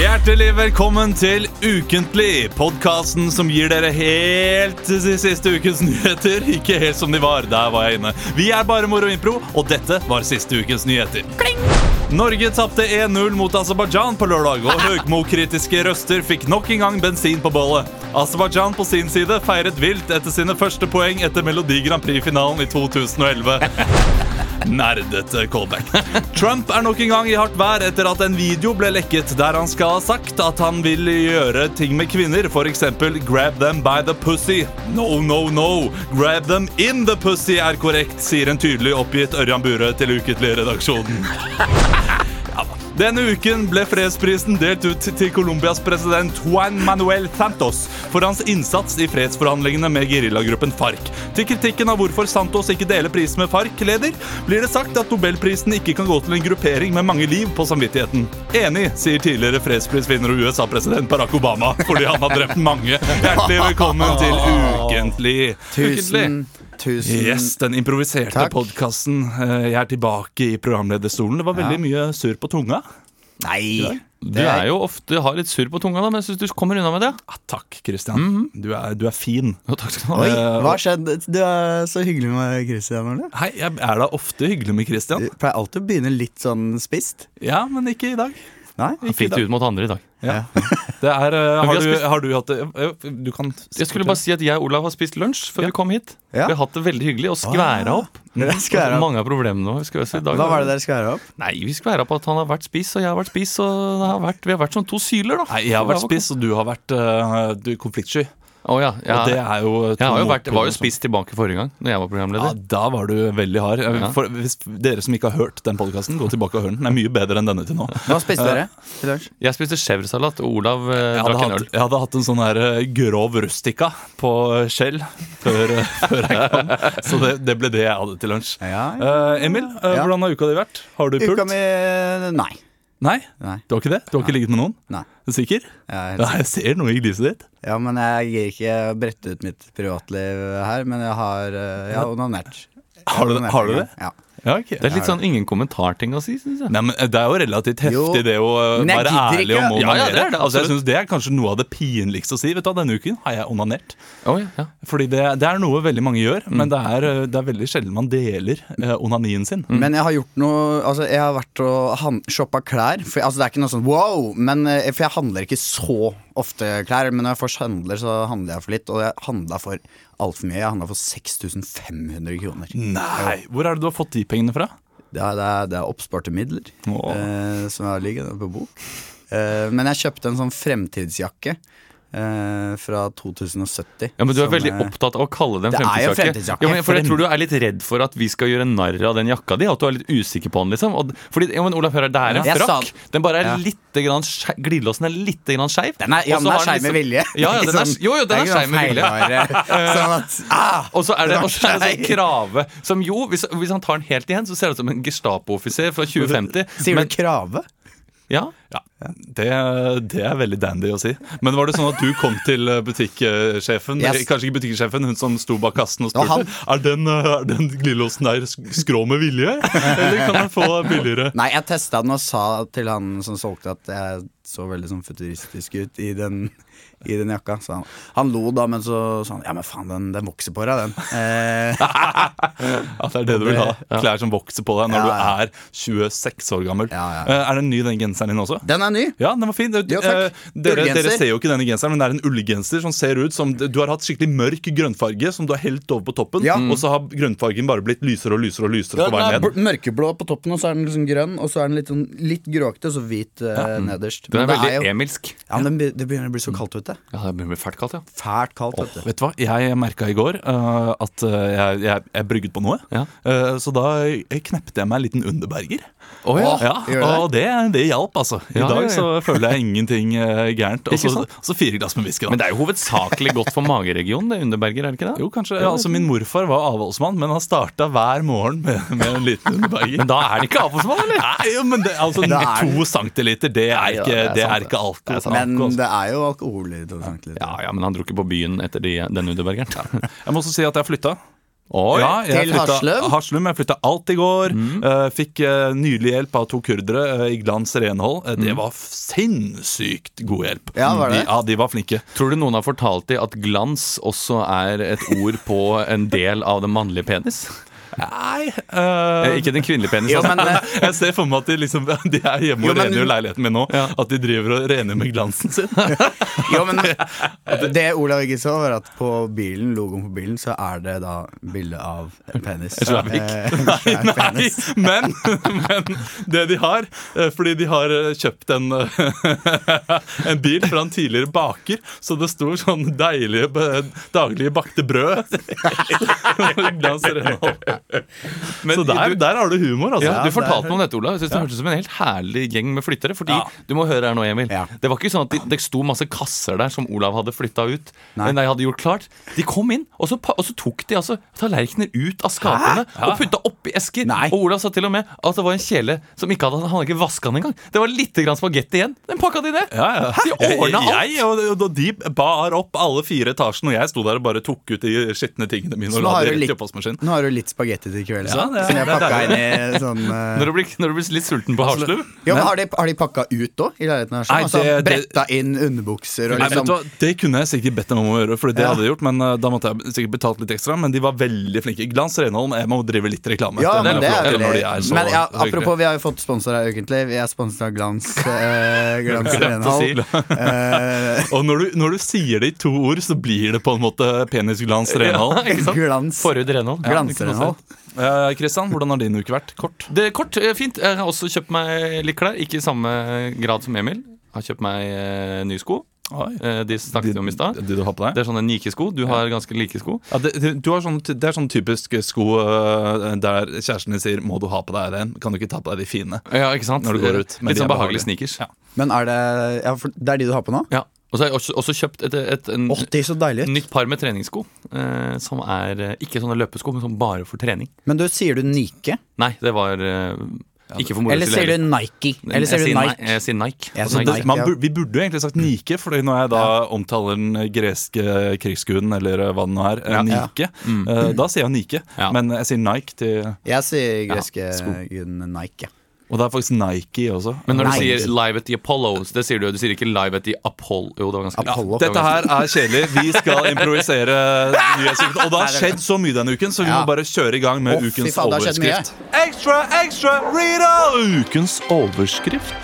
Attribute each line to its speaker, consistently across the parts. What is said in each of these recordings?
Speaker 1: Hjertelig velkommen til Ukentlig, podkasten som gir dere helt de siste ukens nyheter. Ikke helt som de var. Der var jeg inne. Vi er bare Moro Impro, og dette var siste ukens nyheter. Norge tapte 1-0 mot Aserbajdsjan på lørdag, og Høgmo-kritiske røster fikk nok en gang bensin på bollet. Aserbajdsjan på sin side feiret vilt etter sine første poeng etter Melodi Grand Prix-finalen i 2011. Nerdete callback. Trump er nok en gang i hardt vær etter at en video ble lekket der han skal ha sagt at han vil gjøre ting med kvinner, f.eks. grab them by the pussy. No, no, no. Grab them in the pussy er korrekt, sier en tydelig oppgitt Ørjan Bure til Uketlig-redaksjonen. Denne uken ble fredsprisen delt ut til Colombias president Juan Manuel Santos for hans innsats i fredsforhandlingene med geriljagruppen FARC. Til kritikken av hvorfor Santos ikke deler prisen med FARC-leder, blir det sagt at nobelprisen ikke kan gå til en gruppering med mange liv på samvittigheten. Enig, sier tidligere fredsprisvinner og USA-president Barack Obama fordi han har drept mange. Hjertelig velkommen til Ukentlig.
Speaker 2: Tusen, tusen
Speaker 1: Yes, den improviserte
Speaker 2: Takk.
Speaker 1: podkasten. Jeg er tilbake i programlederstolen. Det var veldig mye surr på tunga.
Speaker 2: Nei!
Speaker 3: Du er jo ofte har litt surr på tunga, da, men jeg syns du kommer unna med det.
Speaker 1: Ah, takk, Christian. du, er, du er fin.
Speaker 3: Jo, takk skal du ha. Eh,
Speaker 2: Oi, hva har skjedd? Du er så hyggelig med Christian, eller?
Speaker 1: Hei, jeg er da ofte hyggelig med
Speaker 2: Du
Speaker 1: Christian.
Speaker 2: pleier alltid å begynne litt sånn spist.
Speaker 1: Ja, men ikke i dag.
Speaker 2: Nei?
Speaker 3: Han fikk det ut mot andre i dag.
Speaker 1: Ja. Det er, eh,
Speaker 3: Men vi
Speaker 1: har,
Speaker 3: har
Speaker 1: du,
Speaker 3: spist-
Speaker 1: har du hatt det? eh, Du kan
Speaker 3: Jeg skulle bare si at jeg og Olav har spist lunsj før vi kom hit.
Speaker 2: Ja.
Speaker 3: Vi har hatt det veldig hyggelig og skværa
Speaker 1: Ah,
Speaker 3: opp.
Speaker 2: Dere skværa opp.
Speaker 3: Mange av problemene våre. skal jeg si i dag.
Speaker 2: Hva var det dere skværa opp?
Speaker 3: Nei, Vi skværa på at han har vært spiss, og jeg har vært spiss. og det har vært, Vi har vært som to syler, da.
Speaker 1: Nei, jeg har vært spiss, og du har vært eh, du, konfliktsky.
Speaker 3: Å, ja,
Speaker 1: Og det
Speaker 3: jeg,
Speaker 1: er jo
Speaker 3: jeg har jo
Speaker 1: to
Speaker 3: vært, var
Speaker 1: motpoler
Speaker 3: jo
Speaker 1: som-
Speaker 3: spiss tilbake forrige gang, Når jeg var
Speaker 1: Ja,
Speaker 3: programleder.
Speaker 1: da var du veldig hard. Eh,
Speaker 3: Ja.
Speaker 1: For, hvis dere som ikke har hørt den podkasten, gå tilbake og hør den. Den er mye bedre enn denne til nå.
Speaker 2: Hva spiste dere til lunsj?
Speaker 3: Jeg spiste chèvresalat, og Olav eh,
Speaker 1: Jeg hadde,
Speaker 3: drakk en
Speaker 1: hatt,
Speaker 3: øl.
Speaker 1: jeg hadde hatt en sånn her eh, grov rustica på eh, skjell før, eh, før jeg kom. Så det, det ble det jeg hadde til lunsj.
Speaker 2: Ja,
Speaker 1: Eh, Emil, eh,
Speaker 2: Ja.
Speaker 1: hvordan har uka di vært? Har du pult?
Speaker 2: Uka mi Nei.
Speaker 1: Nei?
Speaker 2: Nei.
Speaker 1: Du har ikke det? Du har ikke ligget med noen?
Speaker 2: Nei.
Speaker 1: Er du sikker?
Speaker 2: Jeg er helt
Speaker 1: Nei, jeg ser noe i gliset ditt.
Speaker 2: Ja, men jeg gir ikke å brette ut mitt privatliv her, men jeg har eh, Jeg har onanert. Jeg
Speaker 1: Har du det-
Speaker 2: onanert
Speaker 1: har du
Speaker 2: en gang.
Speaker 1: det?
Speaker 2: Ja.
Speaker 1: Ja, ok.
Speaker 3: Det er litt sånn ingen kommentar-ting å si, syns jeg.
Speaker 1: Nei, men eh, Det er jo relativt heftig,
Speaker 2: Jo.
Speaker 1: det å eh,
Speaker 2: Men jeg
Speaker 1: være
Speaker 2: gidder
Speaker 1: ærlig
Speaker 2: ikke.
Speaker 1: om å
Speaker 3: Ja,
Speaker 1: onanere.
Speaker 3: ja, det er det,
Speaker 1: altså, jeg
Speaker 3: absolutt.
Speaker 1: synes det er kanskje noe av det pinligste å si. Vet du, hva, Denne uken har jeg onanert.
Speaker 3: Å, ja, ja.
Speaker 1: Fordi det, det er noe veldig mange gjør,
Speaker 2: Mm.
Speaker 1: men det er, eh, det er veldig sjelden man deler eh, onanien sin.
Speaker 2: Men jeg har gjort noe Altså, jeg har vært og han- shoppa klær. For, altså, det er ikke noe sånn wow, men eh, For jeg handler ikke så ofte klær. Men når jeg først handler, så handler jeg for litt. Og jeg handla for altfor mye. Jeg handla for 6500 kroner.
Speaker 3: Mm.
Speaker 1: Nei, Hvor er det du har fått de pengene fra?
Speaker 2: Det er, det er, det er oppsparte midler
Speaker 1: Åh.
Speaker 2: eh, som jeg har liggende på bok. Eh, men jeg kjøpte en sånn fremtidsjakke eh, fra 2070.
Speaker 3: Ja, men Du er
Speaker 2: som,
Speaker 3: veldig
Speaker 2: eh,
Speaker 3: opptatt av å kalle det en
Speaker 2: Det er jo en
Speaker 3: fremtidsjakke.
Speaker 2: fremtidsjakke.
Speaker 3: Ja, men for Jeg tror du er litt redd for at vi skal gjøre narr av den jakka di. At du er litt usikker på den. liksom og, Fordi, ja, men Olav, hør her, Det er en
Speaker 2: Ja. Jeg sa
Speaker 3: frakk.
Speaker 2: den.
Speaker 3: Den bare er
Speaker 2: Ja.
Speaker 3: litt grann skei- Glidelåsen er litt grann skeiv.
Speaker 2: Den er, ja,
Speaker 3: Og så
Speaker 2: den er
Speaker 3: har den
Speaker 2: skeiv med
Speaker 3: liksom-
Speaker 2: vilje. sånn
Speaker 3: Ja, ja, den er, jo, jo, den er skeiv med vilje.
Speaker 2: vilje. Sånn at, ah,
Speaker 3: Og så er det,
Speaker 2: Den er
Speaker 3: og så er det sånn
Speaker 2: skeiv.
Speaker 3: krave som jo, hvis, hvis han tar den helt igjen, så ser det ut som en Gestapo-offiser fra 2050.
Speaker 2: sier
Speaker 3: men,
Speaker 2: du krave?
Speaker 3: ja,
Speaker 1: Ja, det, det er veldig dandy å si. Men var det sånn at du kom til eh, butikksjefen,
Speaker 2: Yes.
Speaker 1: eh, kanskje ikke butikksjefen, hun som sto bak kassen og
Speaker 2: Det var
Speaker 1: spurte Er den, eh, er den glidelåsen der sk- skrå med vilje, eller kan den få billigere?
Speaker 2: Nei, jeg testa den og sa til han som solgte at jeg så veldig sånn futuristisk ut i den, i den jakka. Så han, han lo da, men så sa han ja, men faen, den, den vokser på deg, den. Eh,
Speaker 1: At det er det du vil ha. Klær som vokser på deg når
Speaker 2: Ja,
Speaker 1: du er 26 år gammel.
Speaker 2: Ja, ja.
Speaker 1: Eh, Er den ny, den genseren din også?
Speaker 2: den er ny!
Speaker 1: Ja, den var fin. Det-
Speaker 2: Ja, takk.
Speaker 1: eh, dere,
Speaker 2: Ullgenser.
Speaker 1: dere ser jo ikke denne genseren, men det er en ullgenser som ser ut som Du har hatt skikkelig mørk grønnfarge som du har helt over på toppen,
Speaker 2: Ja.
Speaker 1: og så har grønnfargen bare blitt lysere og lysere og lysere på vei
Speaker 2: den er
Speaker 1: ned.
Speaker 2: bl- mørkeblå på toppen, og så er den liksom grønn, og så er den litt, sånn, litt gråkete, og så hvit eh, nederst.
Speaker 3: Den er
Speaker 2: Men det
Speaker 3: veldig
Speaker 2: jo-
Speaker 3: emilsk.
Speaker 2: Ja, men det be- det begynner å bli så kaldt ute.
Speaker 3: Ja, det blir fælt kaldt, ja.
Speaker 2: Fælt kaldt, vet du.
Speaker 1: Vet du hva, Jeg merka i går eh, at eh, jeg, jeg, jeg brygget på noe.
Speaker 3: Ja.
Speaker 1: Eh, så da knepte jeg meg en liten underberger.
Speaker 3: ja.
Speaker 2: gjør det?
Speaker 1: og det, det hjalp, altså. I
Speaker 3: Ja,
Speaker 1: dag
Speaker 3: ja, ja.
Speaker 1: så føler jeg ingenting eh, gærent. Og
Speaker 3: Ikke
Speaker 1: så,
Speaker 3: sant?
Speaker 1: og så fire glass med whisky, da.
Speaker 3: Men det er jo hovedsakelig godt for mageregionen, det Underberger, er det ikke det?
Speaker 1: Jo, kanskje, ja, altså Min morfar var avholdsmann, men han starta hver morgen med, med en liten underberger.
Speaker 3: Men da er det ikke avholdsmann, eller?
Speaker 1: Nei, jo, men det, altså,
Speaker 2: er det.
Speaker 1: to centiliter, det er
Speaker 3: ja,
Speaker 1: ikke,
Speaker 3: det er
Speaker 1: det
Speaker 3: sant,
Speaker 1: er ikke altså. alt.
Speaker 2: Men det er jo alkohol i det. sant, litt.
Speaker 3: Ja, ja, men han dro ikke på byen etter de, den Underbergeren.
Speaker 1: Jeg må også si at jeg flytta.
Speaker 3: Oi!
Speaker 1: Ja, jeg
Speaker 2: Til
Speaker 1: flytta-
Speaker 2: Haslum?
Speaker 1: Haslum, jeg flytta alt i går. eh, fikk eh, nydelig hjelp av to kurdere eh, i Glans renhold. Eh, det var f- sinnssykt god hjelp.
Speaker 2: Ja, var det?
Speaker 1: De, ja, de var flinke.
Speaker 3: Tror du noen har fortalt deg at glans også er et ord på en del av den mannlige penis?
Speaker 1: Nei
Speaker 3: Eh,
Speaker 1: eh,
Speaker 3: Ikke den kvinnelige penis,
Speaker 2: Jo,
Speaker 3: altså.
Speaker 2: men, eh,
Speaker 1: Jeg ser for meg at de, liksom, de er hjemme
Speaker 2: Jo,
Speaker 1: og
Speaker 2: men-
Speaker 1: rengjør leiligheten min nå. At de driver og rengjør med glansen sin.
Speaker 2: Jo, men Det Olav ikke så, var at på bilen, logoen på bilen så er det da bilde av en penis. En
Speaker 3: sværvik.
Speaker 2: svær
Speaker 1: Nei,
Speaker 2: penis.
Speaker 1: men, men det de har eh, Fordi de har eh, kjøpt en, eh, en bil fra en tidligere baker, så det sto sånn deilige eh, daglige bakte brød. Glans renhold. så der, der har du humor, altså.
Speaker 3: Ja, du fortalte meg om dette, Olav. Jeg synes Det hørtes ut som en helt herlig gjeng med flyttere. Fordi,
Speaker 1: Ja.
Speaker 3: du må høre her nå, Emil
Speaker 2: Ja.
Speaker 3: Det var ikke sånn at de, det sto masse kasser der som Olav hadde flytta ut. Nei.
Speaker 2: Nei.
Speaker 3: hadde gjort klart De kom inn, og så, pa- og så tok de altså tallerkener ut av skapene og putta oppi esker.
Speaker 2: Nei.
Speaker 3: Og Olav sa til og med at det var en kjele som ikke hadde, han hadde ikke vaska den engang. Det var lite grann spagetti igjen. Den pakka de ned. De ordna alt.
Speaker 1: Jeg, og, og de bar opp alle fire etasjene, og jeg sto der og bare tok ut de skitne tingene mine.
Speaker 2: Så
Speaker 1: og
Speaker 2: nå
Speaker 1: la
Speaker 2: har,
Speaker 1: de
Speaker 2: du
Speaker 1: rett i
Speaker 2: litt,
Speaker 1: oppvaskmaskinen.
Speaker 2: Eh, nå har du litt spagetti til i kveld, så.
Speaker 1: Ja, det er-
Speaker 2: som jeg pakka inn i sånn eh,
Speaker 3: Når du, blir, når du blir litt sulten på Haslum
Speaker 2: jo, men har, de, har de pakka ut òg, i leiligheten? her?
Speaker 1: Nei,
Speaker 2: Sånn, altså,
Speaker 1: det- det-
Speaker 2: bretta inn underbukser og
Speaker 1: Nei, vet
Speaker 2: liksom
Speaker 1: du hva? Det kunne jeg sikkert bedt dem om å gjøre, Fordi det hadde jeg gjort. Men eh, da måtte jeg sikkert betalt litt ekstra. Men de var veldig flinke. Glans Renholm, jeg må drive litt reklame.
Speaker 2: ja,
Speaker 1: etter dem,
Speaker 2: men det
Speaker 1: for
Speaker 2: er
Speaker 1: alltid når
Speaker 2: veldig
Speaker 1: de er så
Speaker 2: Men ja,
Speaker 1: hyggelige.
Speaker 2: Apropos, vi har jo fått sponsor her ukentlig. Vi er sponset av Glans. Eh, Glans
Speaker 3: Glemte å si.
Speaker 2: Renhold. Eh,
Speaker 1: Og når du, når du sier det i to ord, så blir det på en måte penisglans Renholm.
Speaker 3: ikke sant?
Speaker 2: glans
Speaker 3: Forhud renhold.
Speaker 2: Glanserenhold.
Speaker 1: Eh, Kristian, hvordan har din uke vært? Kort.
Speaker 3: Det er kort, eh, fint. Jeg har også kjøpt meg litt klær. Ikke i samme grad som Emil. Jeg har kjøpt meg eh, nye sko.
Speaker 1: Oi.
Speaker 3: Eh, de snakket vi om i stad.
Speaker 1: De du har på deg?
Speaker 3: Det er sånne Nike-sko. Du har ganske like sko.
Speaker 1: Ja, det, det- du har sånn, det er sånn typisk sko eh, der kjæresten din sier 'må du ha på deg den', kan du ikke ta på deg de fine?
Speaker 3: Ja, ikke sant?
Speaker 1: Når du går ut, men de
Speaker 3: Litt sånn
Speaker 1: er behagelige.
Speaker 3: behagelig sneakers. Ja.
Speaker 2: Men er det ja, for, Det er de du har på nå?
Speaker 3: Og så har jeg også, også kjøpt et, et, en,
Speaker 2: Åh, de er så deilig ut.
Speaker 3: nytt par med treningssko. Eh, som er eh, ikke sånne løpesko, men som bare for trening.
Speaker 2: Men du, sier du Nike?
Speaker 3: Nei, det var eh, ikke for moro
Speaker 2: Eller sier du Nike? Eller
Speaker 3: Jeg
Speaker 2: sier du
Speaker 3: sier Ni-
Speaker 2: Nike?
Speaker 3: Jeg sier Nike.
Speaker 2: Jeg
Speaker 3: Altså,
Speaker 2: sier
Speaker 3: Nike.
Speaker 2: Nike.
Speaker 1: Man,
Speaker 2: ja.
Speaker 1: bur- vi burde jo egentlig sagt Nike, Fordi når jeg da omtaler den greske krigsguden, eller hva det nå er, eh,
Speaker 2: Ja. Mm.
Speaker 1: Nike, eh, da sier jeg Nike.
Speaker 3: Ja.
Speaker 1: Men jeg sier Nike til
Speaker 2: Jeg sier greske
Speaker 3: Ja, sko.
Speaker 2: guden Nike.
Speaker 1: Og det er faktisk Nike også.
Speaker 3: Men når
Speaker 2: Nei.
Speaker 3: du sier 'live at the Apollo', så det sier du jo. Du sier ikke 'live at the Apollo'. Jo, det var ganske
Speaker 2: Apollo.
Speaker 3: Det
Speaker 1: Dette
Speaker 3: var ganske-
Speaker 1: her er kjedelig. Vi skal improvisere nyhetsuken. Og det har skjedd så mye denne uken, så vi må
Speaker 2: Ja.
Speaker 1: bare kjøre i gang med
Speaker 2: Å, fy
Speaker 1: ukens
Speaker 2: faen, det har skjedd mye.
Speaker 1: overskrift. Ekstra, ekstra, Rita! Ukens overskrift.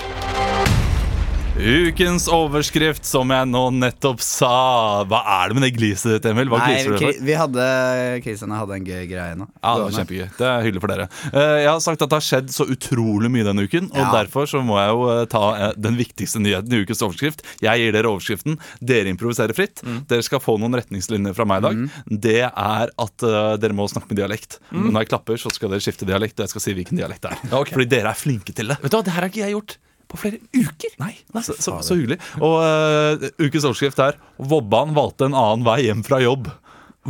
Speaker 1: Ukens overskrift, som jeg nå nettopp sa. Hva er det med det gliset ditt, Emil? Hva
Speaker 2: Nei,
Speaker 1: gliser du for?
Speaker 2: Kri- vi hadde Kristian og jeg hadde en gøy greie nå.
Speaker 1: Ja, det var kjempegøy. Det er hyggelig for dere. Eh, Jeg har sagt at det har skjedd så utrolig mye denne uken, og
Speaker 2: Ja.
Speaker 1: derfor så må jeg jo eh, ta eh, den viktigste nyheten i ukens overskrift. Jeg gir dere overskriften. Dere improviserer fritt.
Speaker 3: Mm.
Speaker 1: Dere skal få noen retningslinjer fra meg i dag. Det er at eh, dere må snakke med dialekt. Når jeg klapper, så skal dere skifte dialekt, og jeg skal si hvilken dialekt det er.
Speaker 3: Ja, Mm. ok.
Speaker 1: Fordi dere er flinke til det.
Speaker 3: Vet du hva, det her har ikke jeg gjort på flere uker.
Speaker 1: Nei, så, så, så hyggelig. Og eh, ukens overskrift er 'Vobban valgte en annen vei hjem fra jobb'.